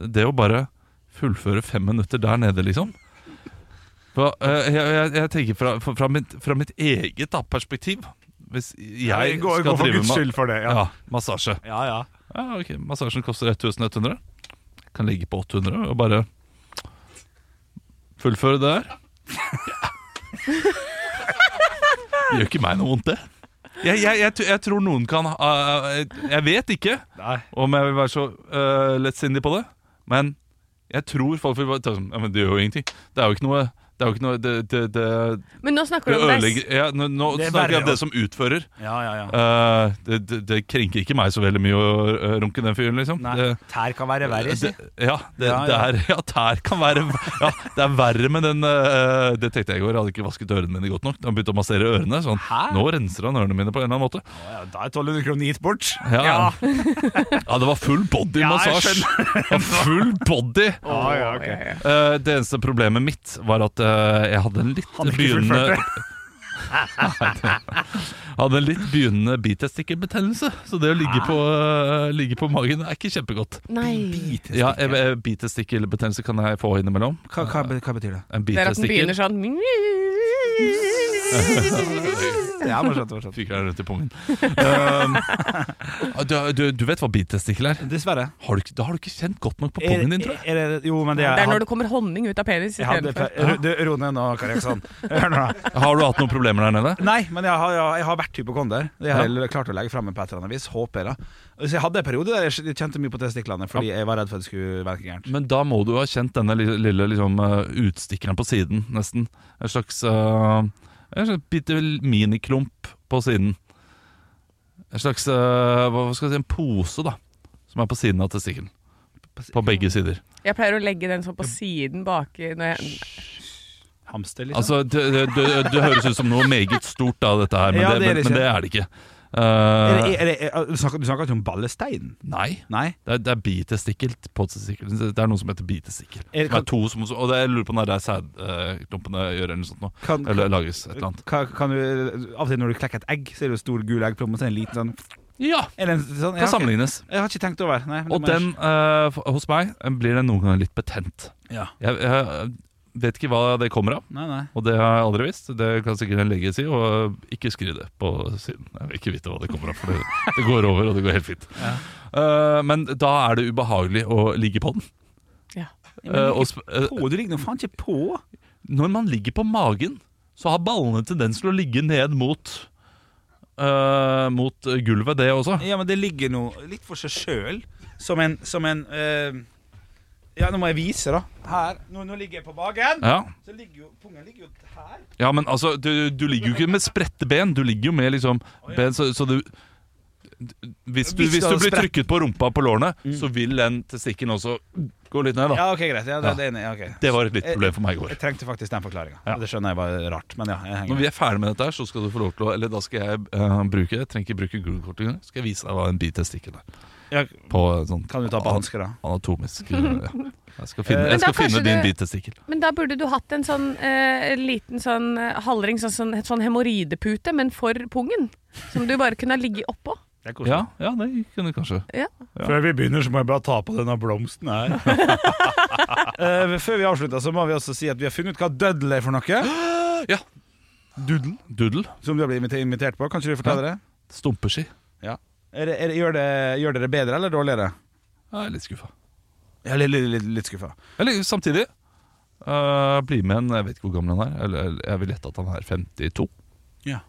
S3: Det å bare fullføre fem minutter der nede, liksom. For, eh, jeg, jeg, jeg tenker fra, fra, fra, mitt, fra mitt eget da, perspektiv Hvis jeg
S2: Gå- gå
S3: skal
S2: for
S3: drive
S2: Guds
S3: med
S2: skyld for det.
S3: ja.
S2: Ja.
S3: massasje
S2: Ja, ja.
S3: ja, ok, Massasjen koster 1100. Kan ligge på 800 og bare fullføre det der. Det gjør ikke meg noe vondt, det. Jeg, jeg, jeg, tr- jeg tror noen kan ha eh, jeg- Jeg vet ikke
S2: Nei.
S3: om jeg vil være så øh, lettsindig på det, men jeg tror folk vil bare ta sånn, ja, men Det gjør jo ingenting. Det er jo ikke noe Det, er jo ikke noe, det, det, det,
S4: Men nå
S3: det
S4: snakker du om deg.
S3: ødelegger ja, Nå, nå
S2: Det er
S3: snakker jeg
S2: verre,
S3: om det som utfører.
S2: Ja, ja, ja.
S3: Eh, det, det, det krenker ikke meg så veldig mye å øh, runke den fyren, liksom.
S2: Nei,
S3: Det,
S2: tær kan være verre, si.
S3: det, ja, det,
S2: Ja,
S3: det
S2: ja.
S3: er Ja, tær kan være Ja, det er verre med den eh, Det tenkte jeg i går. Jeg hadde ikke vasket ørene mine godt nok. Da han begynte å massere ørene. Sånn,
S2: Hæ?
S3: nå renser han ørene mine på en eller annen måte.
S2: Å Ja, da er 1200 kroner gitt bort.
S3: Ja, ja. det var full body
S2: Ja, jeg
S3: massasje. Ja, full body.
S2: Å, Ah, ja,
S4: Å, ja, ja.
S3: Eh, det eneste problemet mitt var at eh, jeg hadde en litt
S2: Han ikke
S3: begynnende
S2: fullførte.
S3: Hadde en litt begynnende bitestikkelbetennelse. Så det å ligge på, eh, ligge på magen er ikke kjempegodt.
S4: Nei.
S3: Ja, eh, eh, Bitestikkelbetennelse kan jeg få innimellom.
S2: Hva, betyr det?
S3: En
S4: Det er at den
S3: bitestikkel
S4: begynner sånn
S2: Det er morsomt, morsomt.
S3: Fyker deg rundt i pungen. Um, du, du, du vet hva bitestikkel er?
S2: Dessverre.
S3: Har du, ikke- da har du ikke kjent godt nok på pungen din, tror jeg.
S2: Er, er det, jo, men det
S4: Det
S2: er,
S4: er når det kommer honning ut av penis
S2: jeg hadde,
S4: istedenfor.
S2: Ro- du- Ro ned nå, Kari Jaksson. Hør nå. da.
S3: Har du hatt noen problemer der nede?
S2: Nei, men jeg har, jeg har vært hypokonder. Det har jeg klart å legge fram på et eller annet vis. Håper jeg, da. Så jeg hadde en periode der jeg kjente mye på testiklene fordi jeg var redd for at det skulle være gærent.
S3: Men da må du ha kjent denne lille, lille liksom, eh, utstikkeren på siden, nesten. En slags uh, En slags bitte miniklump på siden. En slags eh, hva hva skal jeg si, en pose, da. Som er på siden av testikkelen. På begge sider.
S4: Jeg pleier å legge den sånn på siden baki når jeg
S2: Hamster, liksom.
S3: Altså, det, det, det, det høres ut som noe meget stort, da, dette her, men,
S2: Ja,
S3: det,
S2: det er
S3: men,
S2: det
S3: men
S2: ikke.
S3: det er det ikke. Eh,
S2: er det, E- er det, er, du, snakker, du snakker ikke om ballesteinen?
S3: Nei.
S2: Nei?
S3: Det er, det er bitestikkel på testikkel. Det er noe som heter bitestikkel.
S2: Er det-
S3: Som er to som, og det, jeg lurer på når det er sædklumpene gjør eller noe sånt nå.
S2: Kan-
S3: Eller lages et eller annet.
S2: Hva, kan du, av og til når du klekker et egg, så er det jo stor gul eggplomme, og så er det en liten sånn
S3: Ja!
S2: Eller en sånn
S3: Kan
S2: ja, ok.
S3: sammenlignes.
S2: Jeg har ikke tenkt over. Nei, men
S3: Og
S2: det må jeg-
S3: den, eh, f- hos meg, eh, blir den noen ganger litt betent.
S2: ja.
S3: Jeg, jeg vet ikke hva det kommer av,
S2: Nei, nei.
S3: og det har jeg aldri visst. Det kan sikkert en lege si, og eh, ikke skriv det på siden. Jeg vil ikke vite hva det kommer av, for det, det går over, og det går helt fint. Eh, men da er det ubehagelig å ligge på den.
S4: Ja.
S3: Eh, og sp eh,
S2: På, du ligger nå faen ikke på!
S3: Når man ligger på magen, så har ballene tendens til å ligge ned mot øh, Mot gulvet, det også.
S2: Ja, men det ligger noe litt for seg sjøl, som en, som en eh, Ja, nå må jeg vise, da. Her. Nå, nå ligger jeg på magen.
S3: Ja,
S2: Så ligger jo pungen ligger jo her.
S3: ja men altså, du, du ligger jo ikke med spredte ben, du ligger jo med liksom ben, så, så du Hvis du,
S2: Hvis
S3: hvis
S2: du
S3: du
S2: hadde
S3: blir
S2: sprett-
S3: trykket på rumpa på lårene, så vil den testikken også gå litt ned. da
S2: Ja, ok, greit. Ja, det,
S3: Ja.
S2: det, er enig. ja, ok.
S3: Det var et litt problem for meg i går.
S2: Jeg trengte faktisk den forklaringa.
S3: Ja.
S2: Det skjønner jeg var rart, men ja. Jeg henger.
S3: Når vi er ferdig med dette, her, så skal du få lov til å Eller da skal jeg eh, bruke Jeg trenger ikke bruke Google-kortet engang. Skal jeg vise deg hva en bitestikkel er.
S2: Ja,
S3: På eh, sånn
S2: kan du ta på hansker, da?
S3: anatomisk eh, ja. Jeg skal finne,
S2: Eh,
S4: Men
S3: jeg
S4: da
S3: skal finne
S4: kanskje
S3: din
S4: det-
S3: bitestikkel.
S4: Men da burde du hatt en sånn eh, liten sånn eh, halvring, sånn, sånn, sånn hemoroidepute, men for pungen. Som du bare kunne ha ligget oppå.
S2: Det er
S3: Ja, ja, det kunne kanskje Ja.
S2: Før vi begynner, så må jeg bare ta på denne blomsten her. Eh, før vi avslutter, så må vi også si at vi har funnet ut hva døddel er for noe.
S3: Ja. Doodle. Doodle.
S2: Som du har blitt invite- invitert på. Kan ikke du fortelle det?
S3: Stumpeski.
S2: Er det, er det, gjør, det gjør dere bedre eller dårligere?
S3: Jeg er litt skuffa.
S2: Jeg er litt, litt, litt, litt skuffa.
S3: Eller samtidig eh, Bli med en Jeg vet ikke hvor gammel han er. Eller jeg vil gjette at han er 52.
S2: Ja.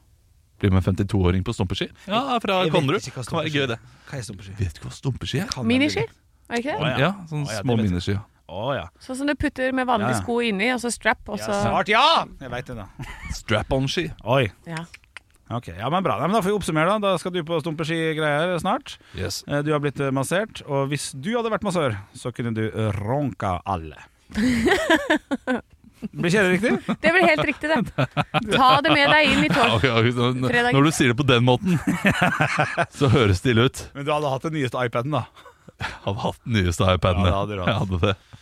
S3: Bli med en 52-åring på stumpeski. Ja, er fra
S2: Jeg vet
S3: Konnerud.
S2: ikke hva
S3: Kan være
S2: stumpeski
S3: gøy,
S2: er.
S3: det.
S2: Hva er stumpeski?
S3: Vet du hva stumpeski er?
S2: Kan det bli
S4: Miniski?
S2: litt-
S4: Er det ikke
S2: Å,
S4: det?
S2: ja.
S3: Ja, sånn
S2: Å, ja, det
S3: små
S2: vet jeg.
S3: miniski. Ja.
S2: Å ja.
S4: Sånn som du putter med vanlig
S2: Ja, ja.
S4: sko inni, og så strap, og så
S2: Svart ja! Jeg veit det, da.
S3: Strap-on-ski.
S2: Oi.
S4: ja.
S2: Ok, ja, men Bra. Nei, men da får vi oppsummere. Da Da skal du på stumpeski-greier snart.
S3: Yes.
S2: Eh, Du har blitt eh, massert, og hvis du hadde vært massør, så kunne du eh, ronka alle. Blir ikke det riktig?
S4: Det er vel helt riktig, det. Ta det med deg inn i
S3: Ja,
S4: tog.
S3: ok, ok, så n-
S4: Fredag.
S3: Når du sier det på den måten, så høres det ille ut.
S2: Men du hadde hatt den nyeste iPaden, da.
S3: Jeg hadde hatt den nyeste
S2: Ja,
S3: iPaden.
S2: det hadde du hatt.
S3: jeg hadde det.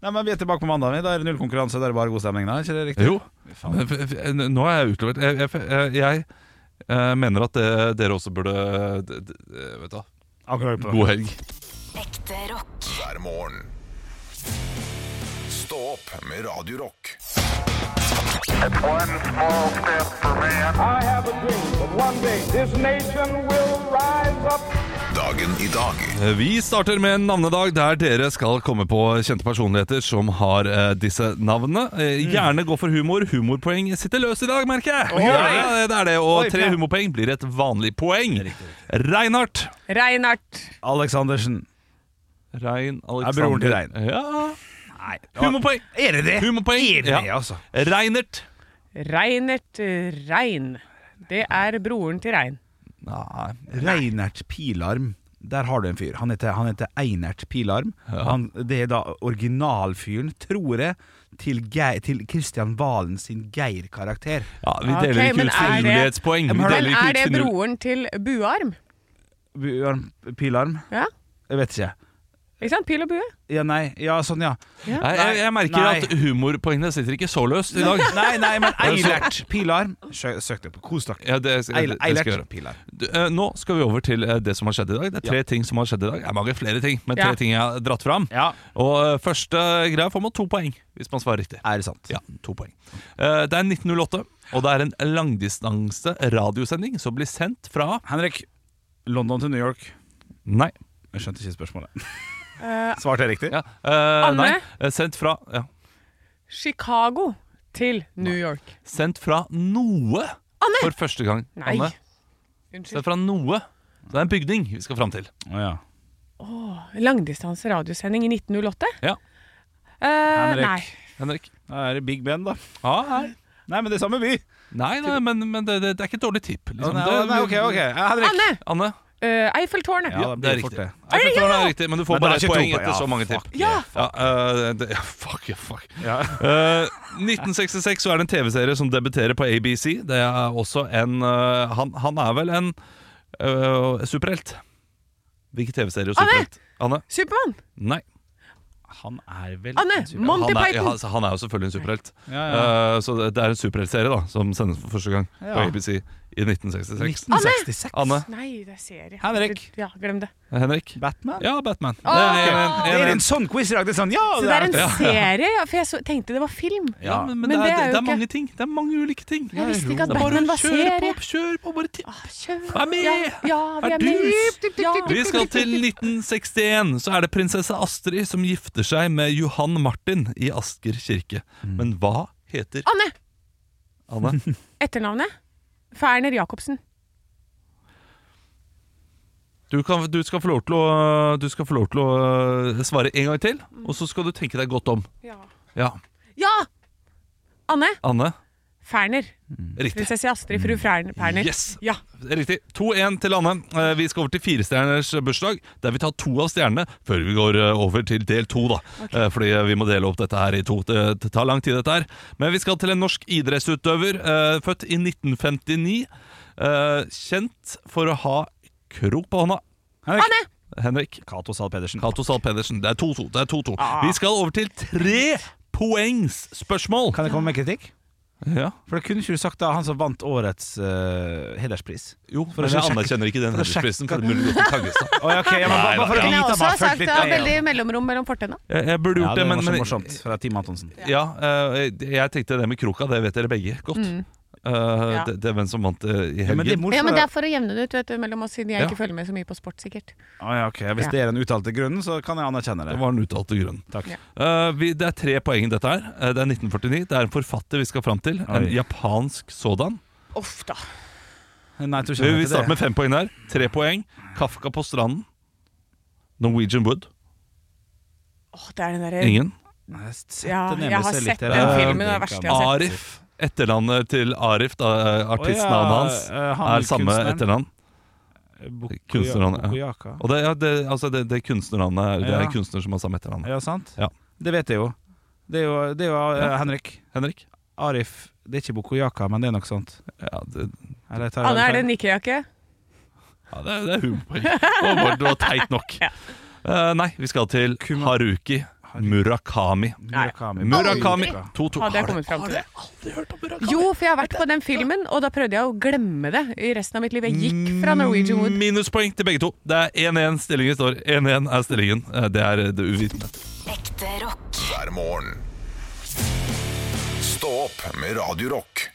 S2: Nei, men Vi er tilbake på mandag. vi. Da er det null konkurranse, da er det bare god stemning. Da. Er ikke det riktig?
S3: Jo, men f- f- n- nå er jeg utlevert. Jeg, jeg, jeg, jeg eh, mener at det, dere også burde d, d, eh, Vet du hva.
S2: Akkurat på.
S3: God helg.
S5: Ekte rock.
S1: hver morgen. Stå opp med Radio Rock.
S6: One small step for man.
S7: I have a dream that one day this nation will rise up.
S1: Dagen i dag
S3: Vi starter med en navnedag der dere skal komme på kjente personligheter som har eh, disse navnene.
S2: Mm.
S3: Eh, gjerne gå for humor. Humorpoeng sitter løs i dag, merker jeg. Ja, det er det, Og
S2: Oi,
S3: tre
S2: bra.
S3: humorpoeng blir et vanlig poeng. Reinhardt.
S4: Reinhardt.
S2: Aleksandersen.
S3: Rein
S2: Er broren til Rein.
S3: Ja.
S2: Nei.
S3: Humorpoeng!
S2: Er det det?
S3: Humorpoeng.
S2: Er det,
S3: Ja.
S2: altså?
S3: Reinert.
S4: Reinert eh, Rein. Det er broren til Rein.
S3: Nei.
S2: Reinert Pilarm. Der har du en fyr. Han heter, han heter Einert Pilarm. Han, det er da originalfyren, tror jeg, til, Geir, til Christian Valen sin Geir-karakter.
S3: Ja, vi
S4: Ok,
S3: deler ikke
S4: men
S3: ut
S4: er det-
S3: finurlighetspoeng. Vi
S2: Men
S3: deler
S4: Men
S3: ikke
S4: er
S3: ut
S4: det
S3: finur-
S4: broren til Buarm?
S2: Buarm- Pilarm?
S4: Ja,
S2: Jeg vet ikke.
S4: ikke sant? Pil og bue.
S2: Ja, nei. Ja, sånn, ja.
S3: Nei, jeg, jeg merker
S2: Nei.
S3: at humorpoengene sitter ikke så løst i dag.
S2: Nei, nei, men Eilert Pilarm. Sø- Søk det på. Kos dere.
S3: Ja, det, det, det
S2: Eil-
S3: skal jeg gjøre.
S2: Eilert Pilarm.
S3: Du, eh, nå skal vi over til eh, det som har skjedd i dag. Det er tre ting som har skjedd i dag. Det er mange flere ting, men tre
S4: Ja.
S3: ting jeg har dratt fram.
S2: Ja.
S3: Og eh, første greia får man to poeng hvis man svarer riktig.
S2: Er det sant?
S3: Ja, to poeng. Eh, det er 1908, og det er en langdistanse radiosending som blir sendt fra
S2: Henrik. London til New York.
S3: Nei.
S2: Jeg skjønte ikke spørsmålet.
S4: Eh,
S2: Svarte jeg riktig?
S3: Ja, eh,
S4: Anne?
S3: nei. eh, Sendt fra ja.
S4: Chicago til New York.
S3: Sendt fra noe for første gang.
S4: Nei.
S3: Anne. Sendt
S4: Unnskyld.
S3: fra noe. Så det er en bygning vi skal fram til.
S2: Å, ja.
S4: Langdistanse radiosending i 1908?
S3: Ja.
S4: Eh,
S2: Henrik.
S4: nei.
S3: Henrik?
S2: Da er det Big Ben, da.
S3: Ja, Ah, nei.
S2: Nei, men det er samme by.
S3: Nei, nei, men, men det, det, det er ikke et dårlig tipp.
S2: Å,
S3: Liksom.
S2: nei, å,
S3: Det-
S2: nei, ok, ok. Ja, Henrik.
S4: Anne!
S3: Anne?
S4: Eh, Eiffeltårnet.
S2: Ja, da
S3: det
S2: blir
S3: er
S2: det fort
S3: riktig.
S2: det.
S3: Jeg følte det var riktig, men du får
S2: Men det
S3: bare
S2: er
S3: ett
S2: ikke to
S3: poeng
S2: poeng,
S3: etter
S2: ja,
S3: så mange
S2: fuck
S3: tipp.
S2: det,
S4: Ja.
S3: Ja, eh, det, ja, fuck, ja, fuck. Eh, 1966 så er det en TV-serie som debuterer på ABC. Det er også en eh, han, han er vel en eh, superhelt. Hvilken TV-serie er superhelt? Anne?
S4: Supermann.
S3: Nei.
S2: Han er vel
S4: Anne,
S2: en super-
S4: Monty
S3: Han er, ja,
S4: Python.
S3: altså, han er jo selvfølgelig en superhelt.
S2: Ja, ja.
S3: Eh, så det, det er en superheltserie da som sendes for første gang på
S2: Ja.
S3: ABC i 1966.
S2: 1966.
S3: Anne?
S4: Nei, det er serie.
S2: Henrik.
S4: Ja, glem det.
S3: Henrik?
S2: Batman?
S3: Ja, Batman. Det
S4: Ah!
S3: er en- en-
S2: Det er en sånn quiz i dag. Det er sånn, ja,
S4: Så det er en serie? Ja, for jeg så, tenkte det var film.
S3: Ja, men, men,
S4: Men
S3: det, er,
S4: det er jo
S3: det er
S4: ikke-
S3: mange ting. Det er mange ulike ting.
S4: Jeg visste ikke at
S3: Det er bare
S4: Batman
S3: å
S4: var
S3: kjøre
S4: serie.
S3: På, kjør på, bare tipp.
S4: Ah, kjør.
S3: Vær med!
S4: Ja, ja vi
S3: Er
S4: er
S3: du-
S4: med. Ja.
S3: Vi skal til 1961. Så er det prinsesse Astrid som gifter seg med Johan Martin i Asker kirke. Men hva heter
S4: Anne!
S3: Anne?
S4: Etternavnet? Ferner Jacobsen.
S3: Du, kan, du, skal få lov til å, du skal få lov til å øh, svare en gang til, og så skal du tenke deg godt om.
S4: Ja.
S3: Ja,
S4: Anne!
S3: Anne?
S4: Ferner.
S3: Riktig.
S4: Prinsesse Astrid, fru Fern- Ferner.
S3: Yes.
S4: Ja.
S3: Riktig. 2-1 til Anne. Eh, Vi skal over til firestjerners bursdag, der vi tar to av stjernene før vi går eh, over til del to. da. Eh, Fordi eh, vi må dele opp dette her i to. Det det tar lang tid, dette her. Men vi skal til en norsk idrettsutøver, eh, født i 1959. eh, Kjent for å ha krok på hånda.
S2: Henrik.
S3: Henrik.
S2: Cato Zahl Pedersen.
S3: Cato Zahl Pedersen. Det er 2-2. Det er 2-2. Vi skal over til tre poengsspørsmål.
S2: Kan jeg komme med kritikk?
S3: Ja.
S2: For det kunne ikke du sagt da han som vant årets eh, hederspris.
S3: Jo,
S2: For å
S3: men jeg
S2: sjekke-
S3: anerkjenner ikke den
S2: for å sjekke-
S3: hedersprisen. for det er mulig å gå til Kaggestad.
S2: Å, ja, ok, ja, men
S3: Nei,
S2: bare, bare for
S3: da,
S2: å
S4: Kunne jeg
S2: vite om han
S4: også ha
S2: har
S4: sagt
S2: følt
S4: det
S2: litt
S4: var
S2: med.
S4: veldig mellomrom mellom fortenna.
S3: Jeg, jeg burde
S2: Ja,
S3: gjort
S2: det
S3: det, men,
S2: var så
S3: men
S2: morsomt fra Team Antonsen.
S3: Ja, eh, jeg tenkte det med kroka, det vet dere begge godt.
S4: Mm.
S3: Eh, det, det er hvem som vant eh, i
S2: Ja, men det er
S3: helgen.
S4: Ja,
S2: morsomt.
S4: men Det er for å jevne det ut vet du, mellom oss, siden jeg
S3: Ja.
S4: ikke følger med så mye på sport, sikkert.
S2: Å, ja, ok. Hvis
S4: Ja.
S2: det er den uttalte grunnen, så kan jeg anerkjenne
S3: det
S2: det.
S3: var den uttalte grunnen.
S2: Takk.
S4: Ja.
S3: Eh, vi, det er tre poeng i dette her. Eh, det er 1949. Det er en forfatter vi skal fram til. En
S2: Oi.
S3: japansk sådan.
S4: Uff da.
S2: Nei, jeg tror ikke
S3: Vi,
S2: han
S3: vi
S2: heter
S3: starter
S2: det.
S3: med fem poeng der. Tre poeng. Kafka på stranden. Norwegian Wood.
S4: Åh, det er den der,
S3: Ingen.
S2: Nei, jeg s-
S4: Ja,
S2: setter ned
S4: jeg
S2: med
S4: har
S2: seg
S4: sett
S2: litt der.
S4: den
S2: Eh,
S4: filmen, det er
S2: kan-
S4: det verste jeg har sett.
S3: Arif. Etterlandet til Arif, da, eh,
S2: Å,
S3: artistnavnet
S2: ja,
S3: hans,
S2: eh, han
S3: er samme
S2: kunstneren.
S3: etternavn.
S2: Boku-
S3: Kunstnernavnet, ja.
S2: Bokuyaka.
S3: Og det, ja, det, altså det, det kunstnernavnet er, det er
S2: Ja.
S3: en kunstner som har samme etternavn.
S2: Ja, sant?
S3: Ja.
S2: Det vet jeg jo. Det er jo, det er jo eh, Henrik.
S3: Henrik?
S2: Arif. Det er ikke Bokojaka, men det er nok sånt.
S3: Ja, det,
S2: Eller tar jeg
S4: Anne, er Ah, det
S2: feil?
S4: en Ikea-jakke?
S3: Ja, det er, det er humorpoeng. Det var bare det var teit nok. Eh, nei, vi skal til Haruki Murakami.
S2: Murakami.
S3: Murakami
S2: Murakami.
S3: 2-2.
S4: Hadde
S3: Har
S4: jeg
S3: du-
S4: kommet fram til Ah, det?
S3: Har du hørt om Murakami?
S4: Jo, for jeg har vært på den filmen, og da prøvde jeg å glemme det i resten av mitt liv. Jeg gikk
S3: Mm,
S4: fra Norwegian Wood.
S3: Minuspoeng til begge to. Det er 1-1 stillingen står. 1-1 er stillingen. Eh, Det er det uvitende.
S5: Ekte rock.
S1: hver morgen. Stå opp med Radio Rock.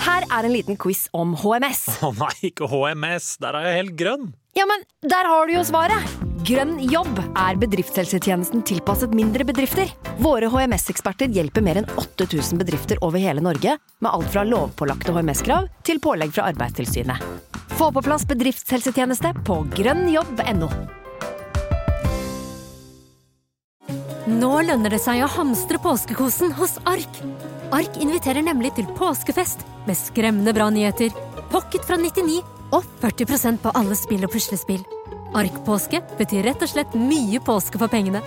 S8: Her er en liten quiz om HMS.
S9: Å nei, ikke HMS, der er jeg helt grønn.
S8: Ja, men der har du jo svaret! Grønn jobb er bedriftshelsetjenesten tilpasset mindre bedrifter. Våre HMS-eksperter hjelper mer enn 8000 bedrifter over hele Norge med alt fra lovpålagte HMS-krav til pålegg fra Arbeidstilsynet. Få på plass bedriftshelsetjeneste på grønnjobb.no.
S10: Nå lønner det seg å hamstre påskekosen hos Ark. Ark inviterer nemlig til påskefest med skremmende bra nyheter, pocket fra 99 og 40 på alle spill og puslespill. Ark-påske betyr rett og slett mye påske for pengene.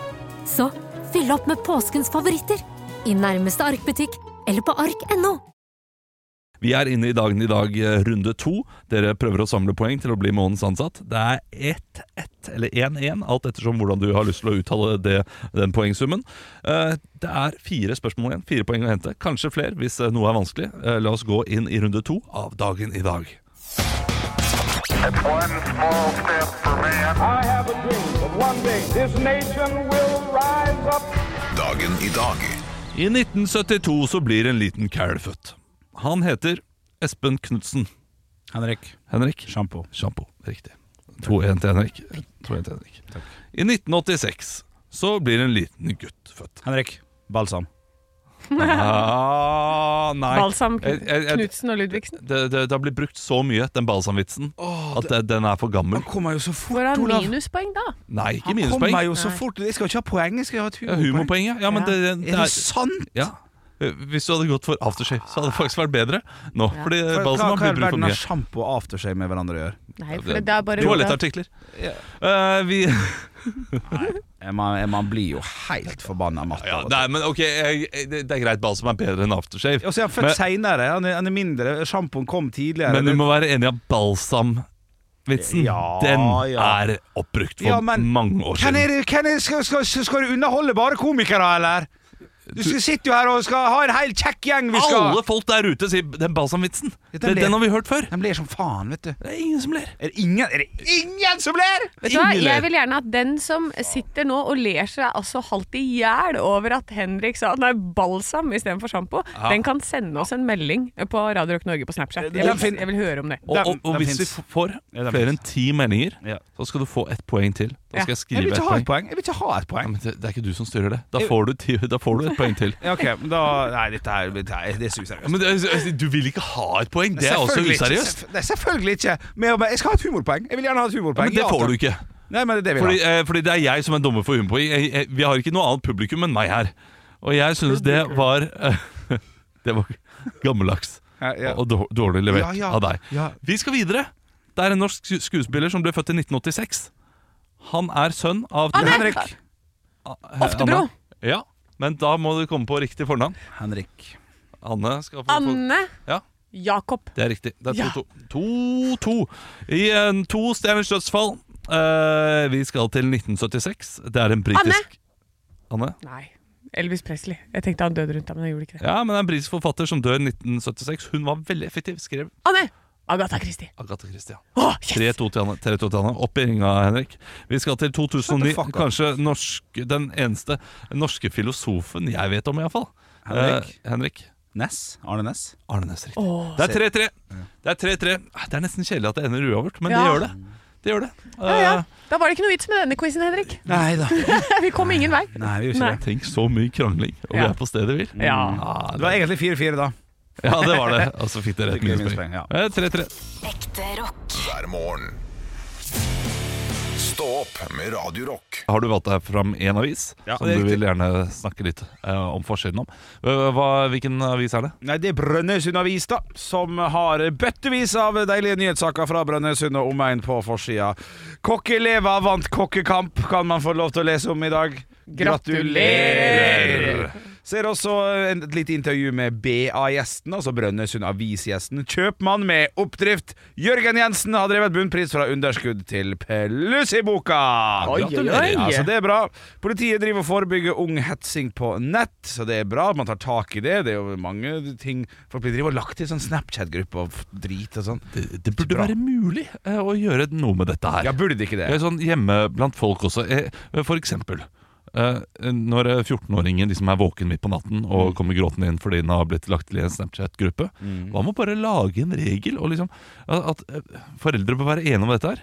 S10: Så fyll opp med påskens favoritter i nærmeste Ark-butikk eller på ark.no.
S3: Vi er inne i dagen i dag, eh, runde to. Dere prøver å samle poeng til å bli månedens ansatt. Det er 1-1, eller 1-1, alt ettersom hvordan du har lyst til å uttale det, den poengsummen. Eh, Det er fire spørsmål igjen, fire poeng å hente. Kanskje flere hvis eh, noe er vanskelig. Eh, La oss gå inn i runde to av dagen i dag.
S6: It's one small step for man,
S7: I have a dream that one day this nation will rise up.
S1: Dagen i dag
S3: I 1972 så blir en liten kæl født. Han heter Espen Knutsen.
S2: Henrik.
S3: Henrik?
S2: Sjampo.
S3: Sjampo. Riktig. 2-1 til Henrik. 2-1 til Henrik. I 1986 så blir en liten gutt født.
S2: Henrik. Balsam.
S3: Ah, nei.
S4: Balsam
S3: Jeg- jeg- jeg-
S4: Knutsen og Ludvigsen.
S3: Det, det, det har blitt brukt så mye, den balsamvitsen, at det, den er for gammel.
S2: kommer jo så fort,
S4: Hvor er han minuspoeng, da?
S3: Nei, ikke
S2: Han kommer
S3: minuspoeng.
S2: jo så fort. Jeg skal jo ikke ha poeng, jeg skal jo ha et
S3: Ja,
S2: humorpoeng.
S3: humorpoeng, ja. ja men det, det,
S2: Er det
S3: er,
S2: sant?!
S3: ja. Hvis du hadde gått for aftershave, så hadde det faktisk vært bedre nå. Fordi
S2: Hva
S3: balsam
S2: hva
S3: har
S2: i all
S3: blitt brukt for
S2: verden har
S3: mye.
S2: sjampo og aftershave med hverandre å gjøre?
S4: Nei, for det er bare
S3: Toalettartikler. Eh, vi,
S2: Eh, Man, eh, man blir jo helt forbanna matt.
S3: ja,
S2: av
S3: nei,
S2: det.
S3: men ok, jeg, jeg- det, det er greit, balsam er bedre enn aftershave.
S2: Og så er han født seinere. Han, er- han er mindre. Sjampoen kom tidligere.
S3: Men du må være enig i at balsamvitsen,
S2: Ja,
S3: den
S2: ja.
S3: er oppbrukt for
S2: Ja, men-
S3: mange år
S2: Hvem
S3: siden.
S2: er det- hvem er det- skal, skal, skal du underholde bare komikere, eller? Du skal, sitter jo her og skal ha en hel kjekk gjeng vi skal
S3: Alle folk der ute sier den balsamvitsen.
S2: Ja, den
S3: den,
S2: ler.
S3: den har vi hørt før.
S2: De ler som faen, vet du.
S3: Det er ingen som ler.
S2: Er det ingen, er det ingen som ler?!
S4: Vet du hva,
S3: Ingen ler.
S4: Jeg vil gjerne at den som sitter nå og ler seg altså halvt i hjel over at Henrik sa nei, balsam istedenfor sjampo, den kan sende oss en melding på Radio Rock Norge på Snapchat. Jeg
S2: Den
S4: vil,
S2: fin-
S4: jeg vil høre om det.
S3: Og,
S2: Dem-
S3: og, og
S2: dem
S3: hvis vi
S2: finnes.
S3: f- får
S2: Ja, dem
S3: flere enn
S2: finnes.
S3: ti meldinger,
S2: Ja.
S3: så skal du få ett poeng til. Da skal
S4: Ja.
S2: Jeg
S3: jeg
S2: vil
S3: skrive
S2: ikke
S3: ett
S2: ha et
S3: poeng.
S2: poeng. Jeg vil ikke ha et
S3: Ja,
S2: poeng.
S3: men det, det er ikke du som styrer det. Da får du, ti, da får du et poeng til.
S2: Ja, ok, men da Nei, dette her dette her- det er så
S3: Ja,
S2: useriøst.
S3: Men det- altså, du vil ikke ha et poeng! Det er også
S2: Selvfølgelig ikke.
S3: useriøst.
S2: Selvf- Nei, selvfølgelig ikke. Men jeg- jeg skal ha et humorpoeng. Jeg vil gjerne ha et
S3: Ja,
S2: humorpoeng.
S3: men det
S2: Ja,
S3: får
S2: takk.
S3: du ikke.
S2: Nei, men det er det vi
S3: Fordi,
S2: har.
S3: eh, fordi det er jeg som er dommer for humorpoeng. Jeg- jeg- Vi har ikke noe annet publikum enn meg her. Og jeg synes det var eh, Det var gammeldags
S2: Ja, ja.
S3: og dår- dårlig levert
S2: Ja, ja.
S3: av deg.
S2: Ja.
S3: Vi skal videre. Det er en norsk sku- skuespiller som ble født i 1986. Han er sønn av
S4: Anne!
S2: Henrik.
S4: Oftebro.
S3: Ja, men da må du komme på riktig fornavn.
S2: Henrik.
S3: Anne skal få
S4: Anne
S3: Ja.
S4: Jakob.
S3: Det er riktig. Det
S4: Ja.
S3: er 2-2. 2-2 I en to stjerners dødsfall. Eh, vi skal til 1976. Det er en britisk Anne?
S4: Nei. Elvis Presley. Jeg tenkte han døde rundt da, men han gjorde ikke det.
S3: Ja, men det er en britisk forfatter som dør i 1976. Hun var veldig effektiv, skrev
S4: Anne! Agatha Christie.
S3: Agathe Christie.
S4: Åh,
S3: 3-2
S4: yes!
S3: til Anne. 3-2 til Anne. Opp i ringa, Henrik. Vi skal til 2009.
S2: Shut the fuck up.
S3: Kanskje norsk, den eneste norske filosofen jeg vet om, iallfall.
S2: Henrik?
S3: Eh, Henrik.
S2: Ness. Arne Ness.
S3: Arne Næss, riktig. Det er 3-3. Det er 3-3. Ah, Det er nesten kjedelig at det ender uavgjort, men det
S4: Ja.
S3: gjør det. Det gjør det.
S4: Ja, ja.
S3: Eh,
S4: Da var det ikke noe vits med denne quizen, Henrik.
S2: Nei da.
S4: Vi kom ingen vei.
S2: Nei, vi gjør ikke
S4: Nei.
S2: det. Mm.
S3: Tenk så mye krangling, og vi
S4: Ja.
S3: er på stedet hvil.
S4: Ja.
S3: Ah,
S2: Det
S3: det,
S2: var egentlig 4-4 da.
S3: ja, det var det. Og så fikk dere
S2: Fikk
S3: et
S2: vi
S3: minuspoeng.
S2: minuspoeng, ja.
S3: Eh, 3-3.
S5: ekte rock,
S1: hver morgen. Stå opp med Radio Rock.
S3: Har du valgt deg fram én avis
S2: Ja,
S3: som
S2: det er
S3: du
S2: riktig.
S3: vil gjerne snakke litt eh, om forskjellen om? Eh, Hva, hvilken avis er det?
S2: Nei, det er Brønnøysund Avis, da, som har bøttevis av deilige nyhetssaker fra Brønnøysund og omegn på forsida. Kokkeelever vant kokkekamp, kan man få lov til å lese om i dag.
S4: Gratulerer!
S2: Så er det også en- et lite intervju med BA-gjesten, altså Brønnøysund Avis-gjesten. Kjøpmann med oppdrift. Jørgen Jensen har drevet bunnpris fra underskudd til pluss i boka!
S4: Oi, oi, oi.
S2: Ja, så det er bra. Politiet driver og forebygger ung hetsing på nett, så det er bra. Man tar tak i det. Det er jo mange ting Folk blir driver og lagt i sånn Snapchat-gruppe og f- drit og sånn.
S3: Det, det burde
S2: Bra.
S3: være mulig eh, å gjøre noe med dette her.
S2: Ja, burde det ikke
S3: Jeg
S2: det?
S3: er sånn hjemme blant folk også. Jeg, for eksempel eh, når eh, 14-åringen liksom er våken midt på natten
S2: Mm.
S3: og kommer gråtende inn fordi den har blitt lagt til i en Snapchat-gruppe, hva med å bare lage en regel? Og liksom, at at, eh, foreldre bør være enige om dette her.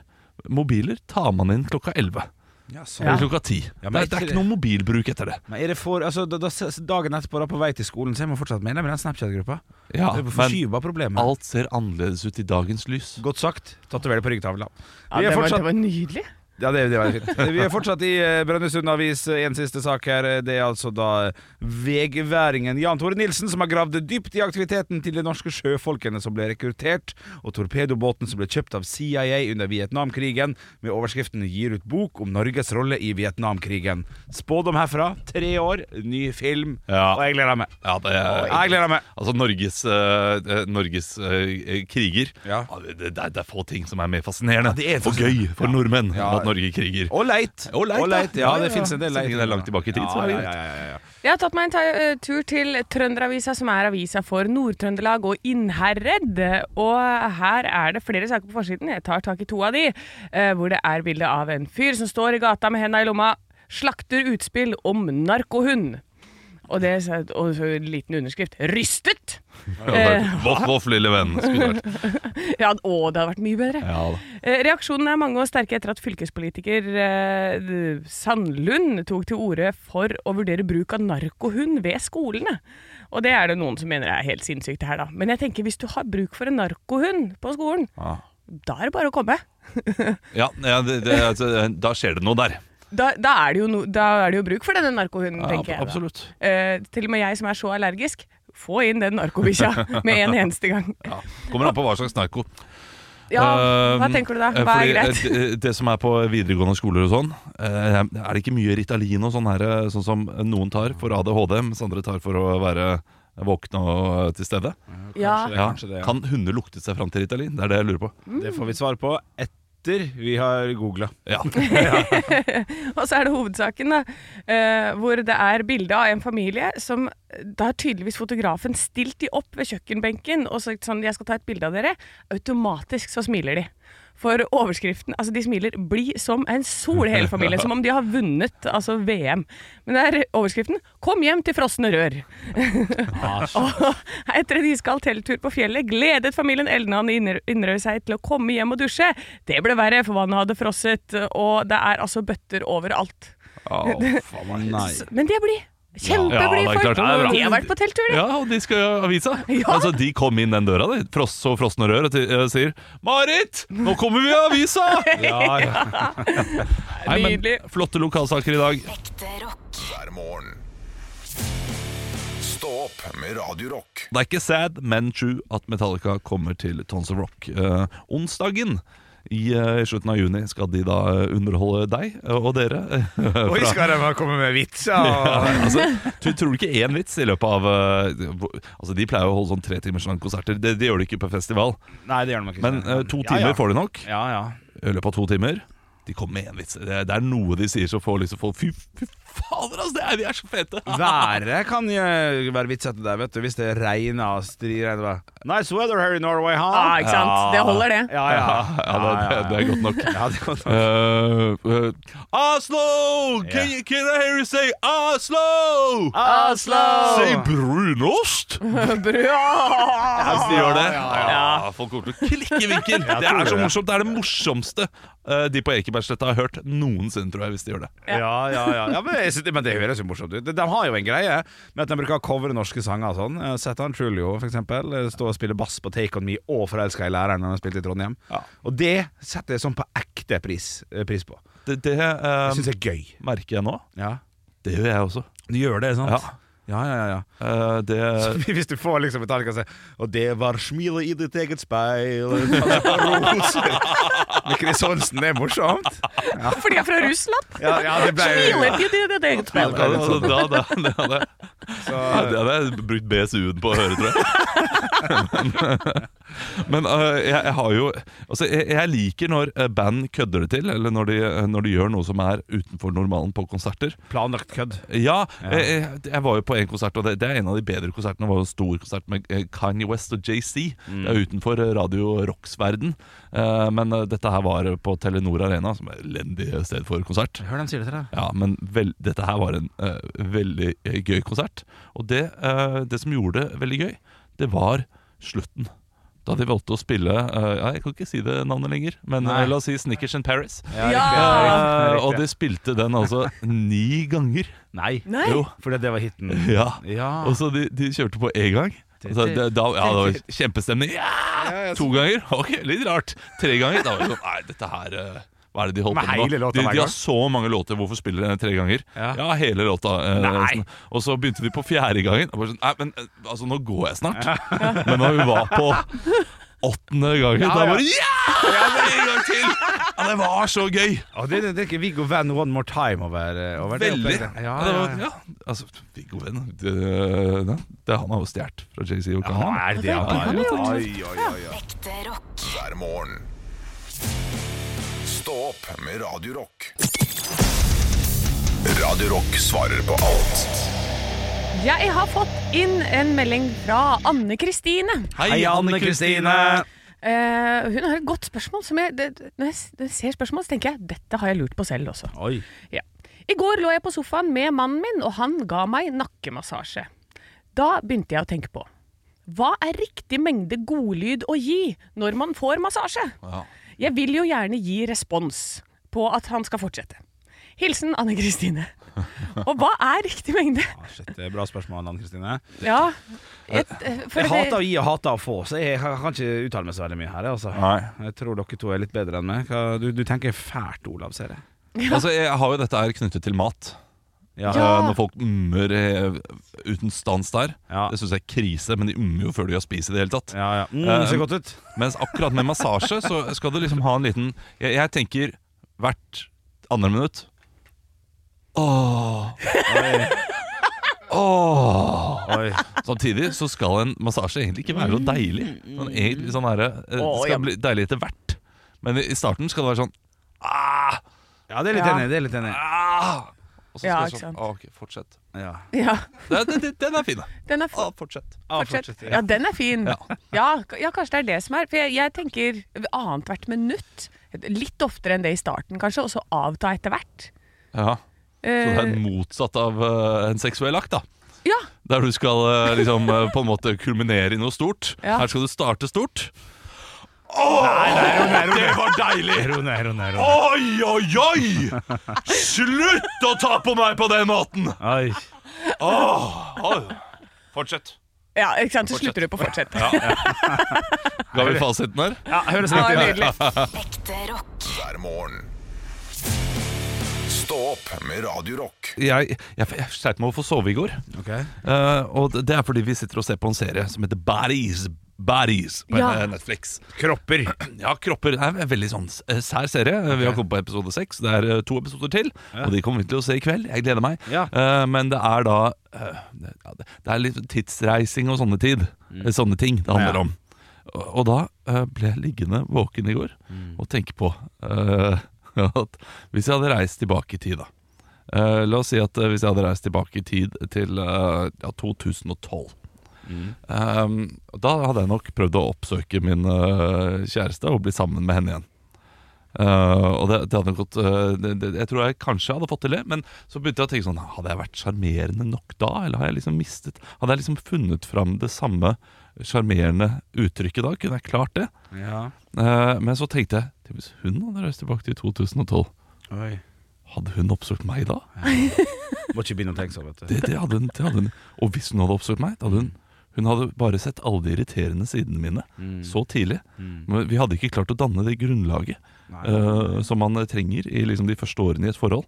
S3: Mobiler tar man inn klokka 11
S2: Ja, sånn.
S3: eller klokka 10.
S2: Ja,
S3: det,
S2: men
S3: er, det er
S2: ikke-
S3: ikke noe mobilbruk etter det.
S2: Men er det for, altså, da, da, s- dagen etterpå, da på vei til skolen, så er man fortsatt medlem i den Snapchat-gruppa.
S3: Ja,
S2: det er
S3: men
S2: forskyver problemet.
S3: alt ser annerledes ut i dagens lys.
S2: Godt sagt. Tatover det på ryggtavla.
S4: Ja,
S2: Vi er
S4: det, var,
S2: fortsatt-
S4: det var nydelig.
S2: Ja, det, det var fint. Vi er fortsatt i eh, Brønnøysund Avis. eh, En siste sak her. eh, Det er altså da eh, vegværingen Jan Tore Nilsen som har gravd dypt i aktiviteten til de norske sjøfolkene som ble rekruttert, og torpedobåten som ble kjøpt av CIA under Vietnamkrigen, med overskriften 'Gir ut bok om Norges rolle i Vietnamkrigen'. Spådom herfra. Tre år, ny film,
S3: Ja.
S2: og jeg gleder meg.
S3: Ja, det
S2: Jeg gleder meg.
S3: Altså Norges, eh, eh, Norges eh, kriger
S2: Ja.
S3: det, det, er- det er få ting som er mer fascinerende
S2: Ja, det er
S3: og
S2: fascinerende.
S3: gøy for
S2: Ja.
S3: nordmenn
S2: Ja.
S3: enn at Norge kriger.
S2: Og leit.
S3: Og leit, da.
S2: ja.
S3: Ja,
S2: Det
S3: ja.
S2: fins en del
S3: Så
S2: leit.
S3: lenge det er langt tilbake i tid,
S2: ja,
S3: så er det
S2: ja,
S3: greit.
S2: ja, ja, ja.
S4: Jeg har tatt meg en ta eh, tur til Trønderavisa, som er avisa for Nord-Trøndelag og Innherred. Og her er det flere saker på forsiden. Jeg tar tak i to av de, eh, hvor det er bilde av en fyr som står i gata med henda i lomma, slakter utspill om narkohund. Og det er og så en liten underskrift 'Rystet'! Eh.
S3: Voff, voff, lille venn. skulle det vært.
S4: Ja, å, det hadde vært mye bedre.
S3: Ja, da.
S4: Eh, Reaksjonene er mange og sterke etter at fylkespolitiker eh, Sandlund tok til orde for å vurdere bruk av narkohund ved skolene. Og det er det noen som mener er helt sinnssykt det her, da. Men jeg tenker hvis du har bruk for en narkohund på skolen,
S3: Ja.
S4: da er det bare å komme.
S3: Ja, ja, det, det, altså, da skjer det noe der.
S4: Da, da, er, det jo no, da er det jo bruk for denne narkohunden,
S3: Ja,
S4: tenker jeg. da.
S3: absolutt.
S4: Eh, til og med jeg som er så allergisk, få inn den narkobikkja med en eneste gang.
S3: Ja. Kommer an på hva slags narko.
S4: Ja, hva
S3: Um,
S4: tenker du da?
S3: eh,
S4: Hva er
S3: fordi,
S4: greit?
S3: eh, Det, det som er på videregående skoler og sånn, eh, er det ikke mye Ritalin og sånn her, eh, sånn som noen tar for ADHD, mens andre tar for å være våkne og eh, til stede?
S4: Ja.
S2: Det er
S3: Ja.
S2: kanskje det, ja.
S3: Kan hunder lukte seg fram til Ritalin? Det er det jeg lurer på.
S2: Det får vi svar på etter vi har googla.
S3: Ja.
S4: Og så er det hovedsaken, da. eh, hvor det er bilde av en familie som eh, Da har tydeligvis fotografen stilt de opp ved kjøkkenbenken og sagt sånn 'Jeg skal ta et bilde av dere'. Automatisk så smiler de. For overskriften Altså, de smiler 'Bli som en sol', hele familien. Som om de har vunnet altså VM. Men det er overskriften 'Kom hjem til frosne rør'. Og etter en iskald telttur på fjellet gledet familien Elnan i Inner- Inderøy seg til å komme hjem og dusje. Det ble verre, for vannet hadde frosset, og det er altså bøtter overalt.
S3: Au, faen meg.
S2: Nei.
S4: S- Men de er blide.
S3: Ja, det er
S4: Kjempeblide folk.
S3: klart, det er bra.
S4: de har vært på telttur, de.
S3: Ja, og de skal gjøre avisa.
S4: Ja.
S3: Altså, de kom inn den døra, de, fross og frosne rør, og til- eh, sier 'Marit, nå kommer vi i avisa!'
S2: Ja, ja.
S3: Nei, men
S4: Nydelig.
S3: flotte lokalsaker i dag.
S5: ekte rock.
S1: hver morgen. Stå opp med Radio Rock.
S3: Det er ikke sad, men true at Metallica kommer til Tons of Rock. Eh, onsdagen i eh, slutten av juni skal de da eh, underholde deg eh, og dere. eh,
S11: Oi,
S3: fra-
S11: skal de bare komme med vitser?
S3: ja,
S11: og-
S3: altså, du tror ikke én vits i løpet av eh, hvor- Altså, De pleier å holde sånn tre timers lange konserter. Det, det gjør de ikke på festival.
S2: Nei, det gjør de nok ikke.
S3: Men eh, to
S2: Ja,
S3: timer
S2: ja.
S3: får de nok.
S2: Ja, ja.
S3: I løpet av to timer. De kommer med én vits. Det, det er noe de sier som får liksom folk Fy, fy fader, altså! Det er, vi er så fete!
S2: Været kan jo være vitsete der, vet du. Hvis det regner og striregner. bare, Nice weather here in Norway, huh?
S4: Ah, ikke sant?
S2: Ja.
S4: Det holder, det.
S2: Ja, ja.
S3: Ja, ja, det, det, det er godt nok.
S2: Ja, det er godt nok.
S3: Uh, uh, Oslo! Can, you, can I hear you say Oslo? Say brunost!
S4: Bra!
S3: Hvis de gjør det.
S2: ja,
S3: Ja, folk kommer til å klikke i vinkel. Det
S2: tror
S3: er så
S2: det.
S3: morsomt. Det er det morsomste eh, de på Ekebergsletta har hørt noensinne, tror jeg, hvis de gjør det.
S2: Ja, ja, ja. ja men, jeg synes, men det høres jo morsomt ut. De, de har jo en greie med at de bruker å covre norske sanger og sånn. Eh, Zetan Trulio, for eksempel. eh, Står og spiller bass på Take On Me og Forelska i læreren når han spilte i Trondheim.
S3: Ja.
S2: Og det setter jeg sånn på ekte pris, eh, pris på.
S3: Det, det eh,
S2: Det syns jeg er gøy.
S3: merker jeg nå.
S2: Ja.
S3: Det gjør jeg også.
S2: Du gjør det, sant?
S3: Ja.
S2: Ja, ja, ja, ja.
S3: Eh, det
S2: Hvis du får liksom Metallica og sier Og det var smilet i ditt eget speil Roser Mikkel Sonsen, det er morsomt
S4: For de er fra Russland?
S2: Ja, ja det ble
S4: Smiler de til det eget speil?
S3: da, da, da, da, det hadde
S2: sånn. så,
S3: sånn- Ja, det hadde jeg brukt BSU-en på å høre, tror jeg. Men, men øh, jeg, jeg har jo Altså, jeg, jeg liker når øh, band kødder det til, eller når de, øh, når de gjør noe som er utenfor normalen på konserter.
S2: Planlagt kødd
S3: Ja, Jeg, jeg, jeg var jo på en konsert, og det, det er en av de bedre konsertene. Det var jo en stor konsert med eh, Kanye West og JC. Det er utenfor eh, Radio Rocks-verden. Eh, men eh, dette her var på Telenor Arena, som er et elendig eh, sted for konsert.
S2: Hør dem sier det til deg
S3: Ja, men vel, dette her var en eh, veldig eh, gøy konsert. Og det, eh, det som gjorde det veldig gøy, det var slutten. Da de valgte å spille eh, ja, Jeg kan ikke si det navnet lenger, men
S2: Nei.
S3: eh, la oss si Snickers in Paris.
S4: Ja.
S3: Eh, og de spilte den altså ni ganger.
S2: Nei,
S4: Nei.
S2: Jo, fordi det var hitten
S3: Ja.
S2: Ja.
S3: Og så de, de kjørte på én gang. Altså, det, da, ja, det var kjempestemning. Ja! To ganger? Ok, litt rart. Tre ganger? Da var det sånn Nei, dette her eh, Hva er det de holder
S2: Med
S3: på med
S2: hele
S3: nå?
S2: låta
S3: De,
S2: hver
S3: de
S2: gang?
S3: har så mange låter, hvorfor spiller de den tre ganger? Ja,
S2: Ja.
S3: hele låta. eh,
S2: Nei.
S3: sånn. Og så begynte de på fjerde gangen. Og bare sånn Nei, men eh, altså, nå går jeg snart. Men når vi var på åttende gangen, da bare Ja! En gang til! Ja, det var så gøy!
S2: Og det, det, det er ikke Viggo Van One More Time over, eh, over det
S3: Veldig.
S2: opplegget.
S3: Ja,
S2: Ja,
S3: det
S2: ja,
S3: var,
S2: ja.
S3: ja. Altså, Viggo Venn det, det, det, Han har jo stjålet fra JC og
S2: Ja,
S3: Kanye.
S2: er det han har
S10: det
S2: gjort?
S10: han har
S2: Oi, oi, oi, oi.
S5: Ekte rock.
S1: hver morgen. Stå opp med Radio Rock. Radio Rock svarer på alt
S4: Jeg har fått inn en melding fra Anne Kristine.
S2: Hei, Anne Kristine
S4: Eh, hun har et godt spørsmål. Som jeg, det, når jeg s- ser spørsmål, så tenker jeg dette har jeg lurt på selv også.
S2: Oi,
S4: Ja. I går lå jeg på sofaen med mannen min, og han ga meg nakkemassasje. Da begynte jeg å tenke på hva er riktig mengde godlyd å gi når man får massasje?
S3: Ja.
S4: Jeg vil jo gjerne gi respons på at han skal fortsette. Hilsen Anne Kristine. Og hva er riktig mengde?
S2: ah, shit, det er bra spørsmål, Anne Kristine
S4: Ja, jeg, eh, for
S2: Jeg hater
S4: det,
S2: å gi og hater å få, så jeg kan kan ikke uttale meg så veldig mye her. Altså.
S3: Nei.
S2: Jeg tror dere to er litt bedre enn meg. Hva- Du, du tenker fælt, Olav, ser jeg.
S3: Altså, jeg har jo dette her knyttet til mat.
S2: Ja.
S4: Ja.
S3: Eh, Når folk ummer eh, uten stans der.
S2: Ja.
S3: Det syns jeg er krise, men de ummer jo før de har spist i det hele tatt.
S2: Ja, ja. Mm,
S3: Eh,
S2: det ser godt ut.
S3: Mens akkurat med massasje så skal du liksom ha en liten Jeg, jeg tenker hvert andre minutt Åh. Åh.
S2: Oi.
S3: Samtidig så skal en massasje egentlig ikke være så deilig.
S4: Mm,
S3: Sånn, egentlig sånn herre, eh, det
S4: Åh, ja.
S3: skal bli deilig etter hvert. Men i i starten skal det være sånn ah,
S2: Ja, det er litt
S4: Ja.
S2: enig. Det er litt enig.
S3: ah, Og så skal
S4: Ja,
S3: det
S4: ikke
S3: sånn
S4: sant.
S3: ah, Ok, fortsett.
S2: Ja.
S4: ja,
S3: Den, den, den er fin. da.
S4: den er fin.
S3: Ah, fortsett.
S2: Ah,
S4: Fortsett.
S2: fortsett,
S4: Ja, den er fin.
S3: Ja.
S4: Ja. k- ja, kanskje det er det som er. For jeg, jeg tenker annethvert minutt. Litt oftere enn det i starten, kanskje, og så avta etter hvert.
S3: Ja. Så det er
S4: Eh,
S3: motsatt av eh, en seksuell akt, da.
S4: ja,
S3: Der du skal eh, liksom eh, på en måte kulminere i noe stort.
S4: Ja.
S3: Her skal du starte stort.
S2: Det
S3: var deilig!
S2: Ro ned, ro ned. ro ned.
S3: Oi, oi, oi! Slutt å ta på meg på den måten!
S2: Oi.
S3: Fortsett.
S4: ja, ikke sant. Så slutter du på fortsett.
S3: Ga vi fasiten her?
S2: Ja, høres
S4: Ja,
S2: riktig ut.
S4: nydelig.
S5: Ekte rock.
S1: hver morgen. Stå Stå opp med Radio Rock.
S3: Jeg, jeg, jeg sleit med å få sove i går. Eh, og det er fordi vi sitter og ser på en serie som heter Bodies. Bodies på
S4: Ja.
S3: eh, Netflix.
S2: Kropper.
S3: Ja, Kropper er en veldig sånn s- eh, sær serie. Vi har kommet på episode seks. Det er eh, to episoder til,
S2: Ja.
S3: og de kommer vi til å se i kveld. Jeg gleder meg.
S2: Ja.
S3: Eh, men det er da eh, det- ja, det- Det er litt tidsreising og sånne, tid, eh, sånne ting det handler
S2: Ja.
S3: om. Og, og da eh, ble jeg liggende våken i går og tenke på eh, at hvis jeg hadde reist tilbake i tid, da Eh, La oss si at eh, hvis jeg hadde reist tilbake i tid til eh, ja, 2012 Ehm, da hadde jeg nok prøvd å oppsøke min øh, kjæreste og bli sammen med henne igjen. Eh, og det, det hadde gått eh, det, det, Jeg tror jeg kanskje hadde fått til det, men så begynte jeg å tenke sånn Hadde jeg vært sjarmerende nok da, eller har jeg liksom mistet Hadde jeg liksom funnet fram det samme sjarmerende uttrykket da? Kunne jeg klart det?
S2: Ja.
S3: Eh, men så tenkte jeg "Tenk Hvis hun hadde reist tilbake til 2012,
S2: Oi.
S3: hadde hun oppsøkt meg da?
S2: Må ikke begynne å tenke sånn, vet du.
S3: Det, det, hadde hun, det hadde hun. Og hvis hun hadde oppsøkt meg, da hadde hun Hun hadde bare sett alle de irriterende sidene mine så tidlig. Men vi hadde ikke klart å danne det grunnlaget eh, som man trenger i liksom, de første årene i et forhold.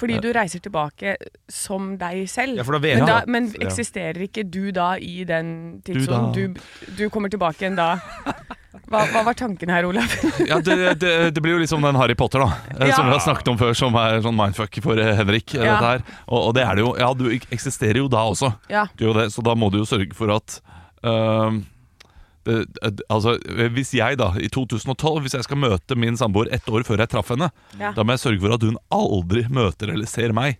S4: Fordi du reiser tilbake som deg selv.
S2: Ja, for da vet
S4: men,
S2: du
S4: da,
S2: at-
S4: men
S2: ja.
S4: eksisterer ikke du da i den tidsånden?
S3: Du da.
S4: Du, du kommer tilbake igjen da. Hva, hva var tanken her, Olav?
S3: Ja, det, det, det blir jo liksom den Harry Potter, da. eh, Som vi
S4: Ja.
S3: har snakket om før, som er sånn mindfuck for eh, Henrik. eh,
S4: Ja.
S3: Dette her. Og, og det er det jo. Ja, du ek- eksisterer jo da også.
S4: Ja.
S3: Du gjør det, så da må du jo sørge for at ehm, det, det- altså, Hvis jeg da, i 2012, hvis jeg skal møte min samboer ett år før jeg traff henne,
S4: Ja.
S3: da må jeg sørge for at hun aldri møter eller ser meg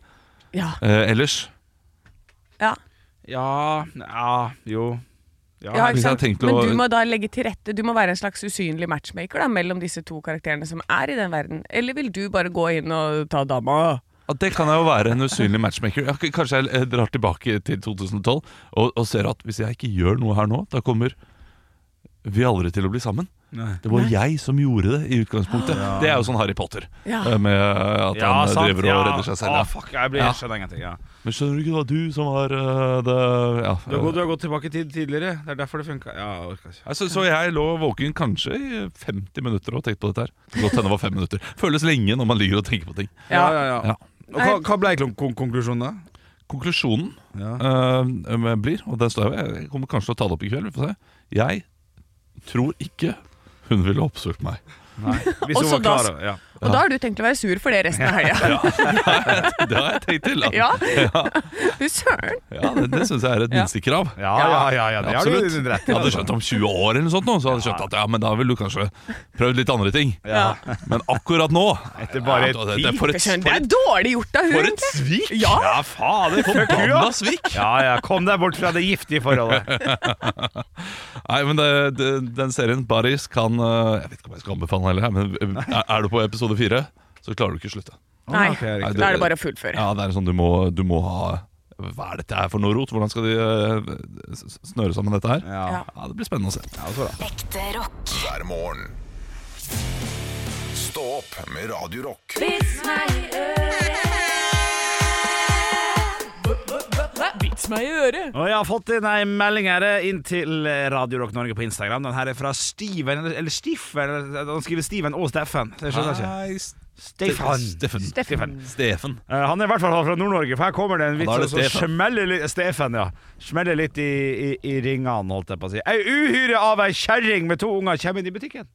S4: Ja.
S3: eh, ellers.
S4: ja.
S2: Ja, ja, jo. Ja,
S4: Ja,
S3: hvis jeg
S4: ikke sant?
S3: hadde tenkt å-
S4: Men du må da legge til rette Du må være en slags usynlig matchmaker da, mellom disse to karakterene som er i den verden. Eller vil du bare gå inn og ta dama?
S3: Ja, det kan jeg jo være en usynlig matchmaker. Ja, k- kanskje jeg eh, drar tilbake til 2012 og, og ser at hvis jeg ikke gjør noe her nå, da kommer vi aldri til å bli sammen.
S2: Nei. Ah.
S3: Det var jeg som gjorde det i utgangspunktet. Det er jo sånn Harry Potter.
S4: Ja.
S3: eh, Med at
S2: Ja,
S3: han eh,
S2: sant,
S3: driver og
S2: ja. Ah,
S3: redder seg
S2: Å,
S3: selv. ja.
S2: fuck, jeg blir
S3: Ja.
S2: jeg skjønner ingenting. Ja.
S3: Men skjønner du ikke, det var du som var eh, det ja.
S2: Du, har gått, du har gått tilbake i tid tidligere. Det er derfor det funka. Ja, jeg orker ikke.
S3: Ja, Så, så jeg lå våken kanskje i 50 minutter og tenkte på dette her. Det kan Godt hende det var fem minutter. Føles lenge når man ligger og tenker på ting.
S2: Ja,
S4: Ja.
S2: ja, ja.
S3: Ja.
S2: Og hva, hva ble klon- kon konklusjonen da?
S3: Konklusjonen
S2: Ja.
S3: eh, blir, og den står jeg ved, jeg kommer kanskje til å ta det opp i kveld, vi får se. Jeg tror ikke hun ville oppsøkt meg.
S2: Nei. Hvis
S4: Og
S2: hun
S4: så
S2: var
S4: da-
S2: klar over ja.
S4: Og da har du tenkt å være sur for det resten av helga.
S3: Det har jeg tenkt til. da.
S4: Ja.
S3: ja,
S4: Du søren!
S3: ja, det, det syns jeg er et
S4: Ja.
S3: minstekrav.
S2: Ja, ja, ja, ja, det har du
S3: Absolutt.
S2: rett i,
S3: Jeg hadde
S2: altså.
S3: skjønt om 20 år eller noe sånt, nå, så hadde jeg skjønt at ja, men da ville du kanskje prøvd litt andre ting.
S4: Ja.
S3: Men akkurat nå
S2: Etter bare
S3: ja, det, det, er for, et,
S4: Søren,
S3: for,
S4: Det er
S3: et,
S4: dårlig gjort av
S3: for
S4: hun!
S3: et svik!
S4: Ja.
S2: fader,
S3: Forbanna svik!
S2: Ja, ja, kom deg bort fra det giftige forholdet.
S3: Nei, men det, det, den serien Buddies kan eh, Jeg vet ikke om jeg skal anbefale den heller, her, men eh, er- er du på episode fire, så klarer du ikke å slutte.
S4: Nei,
S2: ok, riktig.
S3: Nei, du-
S4: da er det bare å fullføre.
S3: Ja, det er sånn du må, du må ha Hva er dette her for noe rot? Hvordan skal de eh, s- s- snøre sammen dette her?
S2: Ja.
S4: Ja.
S3: Ja, Det blir spennende å se.
S5: Ekte rock.
S1: hver morgen. Stå opp med Radio Rock.
S4: Vits meg i øret!
S2: Og jeg har fått inn ei melding her inn til Radio Rock Norge på Instagram. Den her er fra Steven eller- Eller Stiffen. eller- Han skriver Steven og Steffen. Det skjønner jeg ikke.
S3: Nei,
S2: Stefan.
S3: Ah, Steffen.
S2: Steffen.
S3: Steffen.
S2: Eh, Han er i hvert fall fra Nord-Norge, for her kommer det en vits
S3: da er det
S2: og så
S3: Stefan.
S2: smeller litt Stefen, ja. Smeller litt i, i, i ringene, holdt jeg på å si. Ei uhyre av ei kjerring med to unger kommer inn i butikken.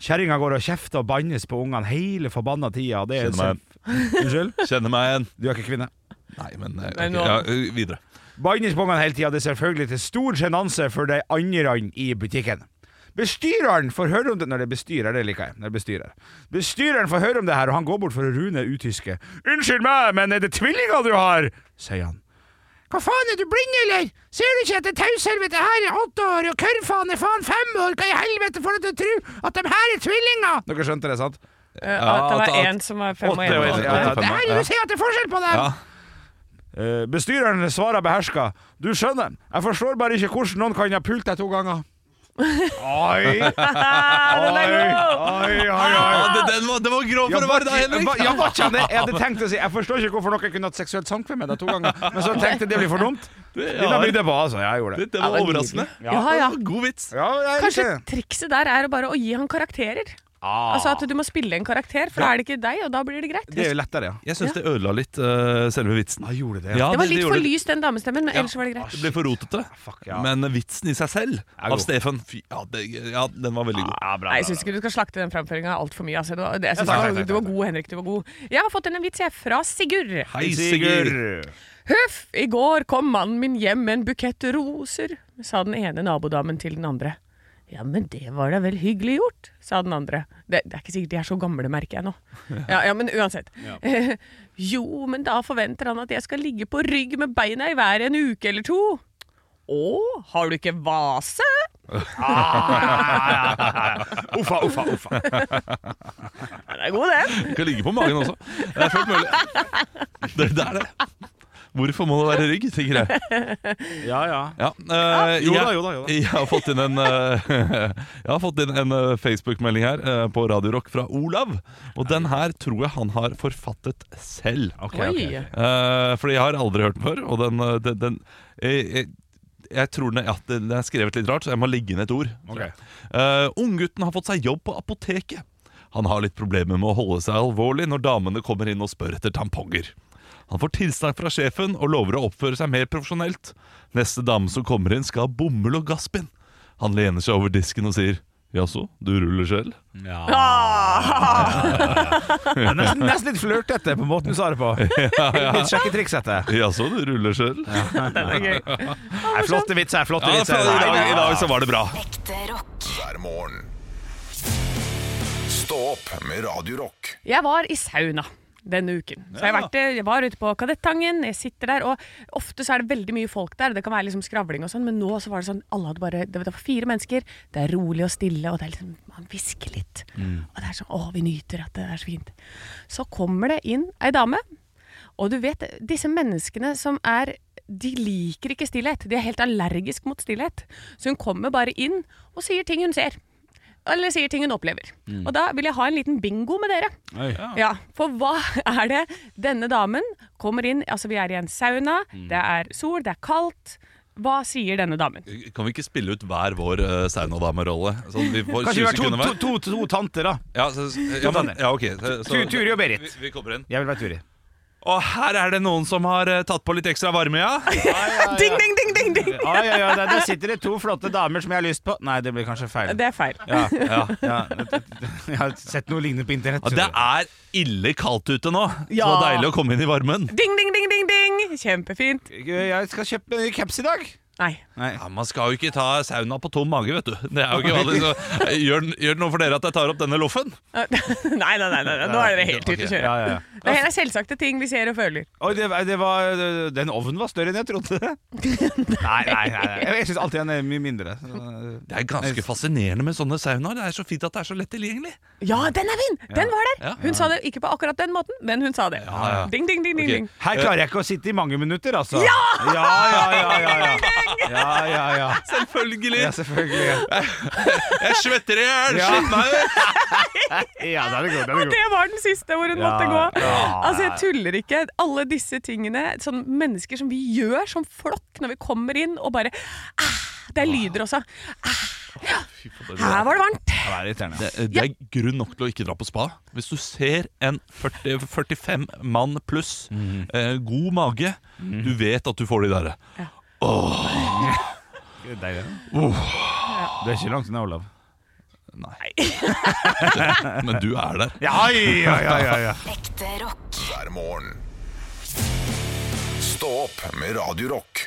S2: Kjerringa går og kjefter og bannes på ungene hele forbanna tida. og Det er
S3: Kjenner meg.
S2: Unnskyld?
S3: Kjenner meg igjen.
S2: Du er ikke kvinne?
S3: Nei, men eh,
S4: Nei, nå-
S3: ok, ja, eh, Videre.
S2: Banningsbongene hele tida, det er selvfølgelig til stor sjenanse for de andre i butikken. Bestyreren får høre om det Når det er bestyrer, det liker jeg. Når det er bestyrer. Bestyreren får høre om det her, og han går bort for å rune utyske. 'Unnskyld meg, men er det tvillinger du har?' sier han. 'Hva faen, er du blind, eller? Ser du ikke at det taushelvete her er åtte år, og kørrfaen er faen fem år? Hva i helvete får deg til å tro at de her er tvillinger?' Dere skjønte det, sant?
S4: Eh, At det
S3: at- at-
S4: var én som var fem og
S2: Åtte
S4: én.
S2: og
S4: var
S2: en-
S4: åtte.
S2: ja, ja,
S3: åtte og fem,
S2: Det her,
S3: ja.
S2: du ser at det er forskjell på dem!
S3: Ja.
S2: Eh, Bestyreren svarer beherska. Du skjønner, jeg forstår bare ikke hvordan noen kan ha pult deg to ganger. Oi! Oi, oi, oi.
S3: Ja,
S2: oi.
S3: Ah, det, den var, den var grov for å være deg,
S2: Jeg
S3: Henrik!
S2: var- jeg var ikke det. Jeg hadde tenkt å si Jeg forstår ikke hvorfor noen kunne hatt seksuelt samkvem med deg to ganger, men så tenkte jeg det blir for dumt. Da blir det bra, altså. Jeg gjorde
S3: Det,
S2: det.
S3: det var overraskende.
S4: Ja, ja.
S3: God vits.
S2: Ja, jeg er
S4: Kanskje
S2: ikke-
S4: trikset der er bare å gi han karakterer.
S2: Ah.
S4: Altså at du må spille en karakter, for da er det ikke deg, og da blir det greit.
S2: Det er jo lettere, ja.
S3: Jeg syns det ødela litt eh, selve vitsen.
S2: Ah, gjorde det,
S3: Ja,
S4: det var litt for
S3: gjorde det. Ah,
S4: lyst, den damestemmen, men ellers var det greit.
S3: Det ble for rotete.
S2: Fuck, ja.
S3: Men vitsen i seg selv,
S2: god.
S3: av Stefan, fy, ja, det, ja, den var veldig god.
S2: Ja, bra, bra,
S4: Nei, Jeg
S2: bra.
S4: syns ikke du skal slakte den framføringa altfor mye. Altså. Det var- det- Jeg
S2: Ja, takk, takk,
S4: synes du, var,
S2: takk,
S4: du var
S2: takk.
S4: god, Henrik. Du var god. Jeg har fått en vits jeg fra Sigurd.
S3: Hei, Sigurd!
S4: Huff, i går kom mannen min hjem med en bukett roser, sa den ene nabodamen til den andre. Ja, men det var da vel hyggelig gjort, sa den andre. Det, det er ikke sikkert de er så gamle, merker jeg nå. Ja, ja men uansett. jo, men da forventer han at jeg skal ligge på rygg med beina i været en uke eller to. Å, har du ikke vase?
S2: Uffa, uffa, uffa.
S4: Ja, det er god, den.
S3: Kan ligge på magen også. Det er fullt mulig. Det, det er det. Hvorfor må det være rygg, tenker jeg.
S2: Ja, ja.
S3: Ja, eh,
S2: Jo da,
S3: jeg-
S2: jo da, jo da.
S3: Jeg har fått inn en, eh, jeg har fått inn en eh, Facebook-melding her eh, på Radio Rock fra Olav. Og den her tror jeg han har forfattet selv.
S4: ok, ok. Oi.
S3: Eh, fordi jeg har aldri hørt den før. Og den, eh, den, den jeg, jeg, jeg tror den er, ja, den er skrevet litt rart, så jeg må legge inn et ord. tror jeg. Eh, Unggutten har fått seg jobb på apoteket. Han har litt problemer med å holde seg alvorlig når damene kommer inn og spør etter tamponger. Han får tilsnakk fra sjefen og lover å oppføre seg mer profesjonelt. Neste dame som kommer inn, skal ha bomull og gasspinn. Han lener seg over disken og sier Jaså, du ruller selv?
S2: Det er nesten, nesten litt flørtete på måten du sa det på. Litt sjekketriks etter.
S3: Jaså, du ruller selv? Ja,
S4: Den er gøy.
S2: Nei, flotte vitser, flotte
S3: for
S2: vitser.
S3: i, dag, I dag så var det bra.
S5: Ekte rock.
S1: hver morgen. Stå opp med Radio Rock.
S4: Jeg var i sauna denne uken. Så jeg, har vært, eh, jeg var ute på Kadettangen, jeg sitter der, og ofte så er det veldig mye folk der. Det kan være liksom skravling og sånn, men nå så var det sånn alle hadde bare, Det var fire mennesker, det er rolig og stille, og det er liksom, man hvisker litt. Og det er sånn Å, vi nyter at det er så fint. Så kommer det inn ei dame, og du vet, disse menneskene som er de liker ikke stillhet. De er helt allergisk mot stillhet. Så hun kommer bare inn og sier ting hun ser. Eller sier ting hun opplever. Og da vil jeg ha en liten bingo med dere.
S2: Oi.
S4: Ja, for hva er det denne damen kommer inn Altså, vi er i en sauna,
S3: Mm.
S4: det er sol, det er kaldt. Hva sier denne damen?
S3: Kan vi ikke spille ut hver vår uh, saunadamerolle? Sånn, vi får
S2: Kanskje
S3: 20
S2: vi er to,
S3: sekunder
S2: to,
S3: hver?
S2: to, to, tanter, da.
S3: Ja, så, ja, men, ja, ok. så- så-
S2: Tu- Turi og Berit.
S3: Vi, vi kommer inn.
S2: Jeg vil være Turi.
S3: Og her er det noen som har eh, tatt på litt ekstra varme, ja?
S4: Ding, ding, ding, ding, ding!
S2: Ja, ja, ja, der, der sitter det to flotte damer som jeg har lyst på. Nei, det blir kanskje feil.
S4: Det er feil.
S2: Ja, ja, ja. Jeg har sett noe lignende på internett.
S3: Ja, Det er ille kaldt ute nå, så
S4: Ja.
S3: deilig å komme inn i varmen.
S4: Ding, ding, ding, ding, ding! Kjempefint.
S2: Jeg skal kjøpe en caps i dag.
S4: Nei.
S2: Nei.
S3: Ja, man skal jo ikke ta sauna på tom mage, vet du. Det er jo ikke vanlig. Så eh, gjør, den- gjør det noe for dere at jeg tar opp denne loffen?
S4: Nei, nei, nei, nei, nei. nå er dere helt ute å
S2: Ja,
S4: kjøre.
S2: ja, ja.
S4: Det her er selvsagte ting vi ser og føler.
S2: Oi, det, var- det var, den ovnen var større enn jeg trodde. nei, nei, nei, nei. Jeg syns alltid den er mye mindre. Så-
S3: Det er ganske fascinerende med sånne saunaer. Det er så fint at det er så lett tilgjengelig.
S4: Ja, den er fin! Den var der!
S3: Ja.
S4: Hun sa det ikke på akkurat den måten, men hun sa det.
S3: Ja, ja.
S4: Ding, ding, ding, ding,
S3: Ok.
S4: ding.
S2: Her klarer jeg ikke å sitte i mange minutter, altså. Eh, Ja, ja, ja. Ja, ja, ja. ja, ja.
S3: Selvfølgelig!
S2: ja selvfølgelig.
S3: Jeg svetter i hjel!
S2: Ja.
S3: Slipp meg ut!
S2: Ja, den er god. Den er
S4: Og
S2: god.
S4: det var den siste hvor hun
S2: Ja,
S4: måtte gå.
S2: ja.
S4: Altså, jeg tuller ikke. Alle disse tingene, sånn mennesker som vi gjør som flokk når vi kommer inn og bare ah, Det er lyder også. Her var det varmt.
S2: Ja, det er irriterende.
S3: Eh, Det, det er grunn nok til å ikke dra på spa. Hvis du ser en 40, 45 mann pluss, eh, god mage, du vet at du får de derre.
S2: Det er deilig. Du er ikke langt unna, Olav.
S3: Men du er der.
S2: Ja, ja, ja, ja, ja.
S5: Ekte rock.
S1: hver morgen. Stå opp med Radio Rock.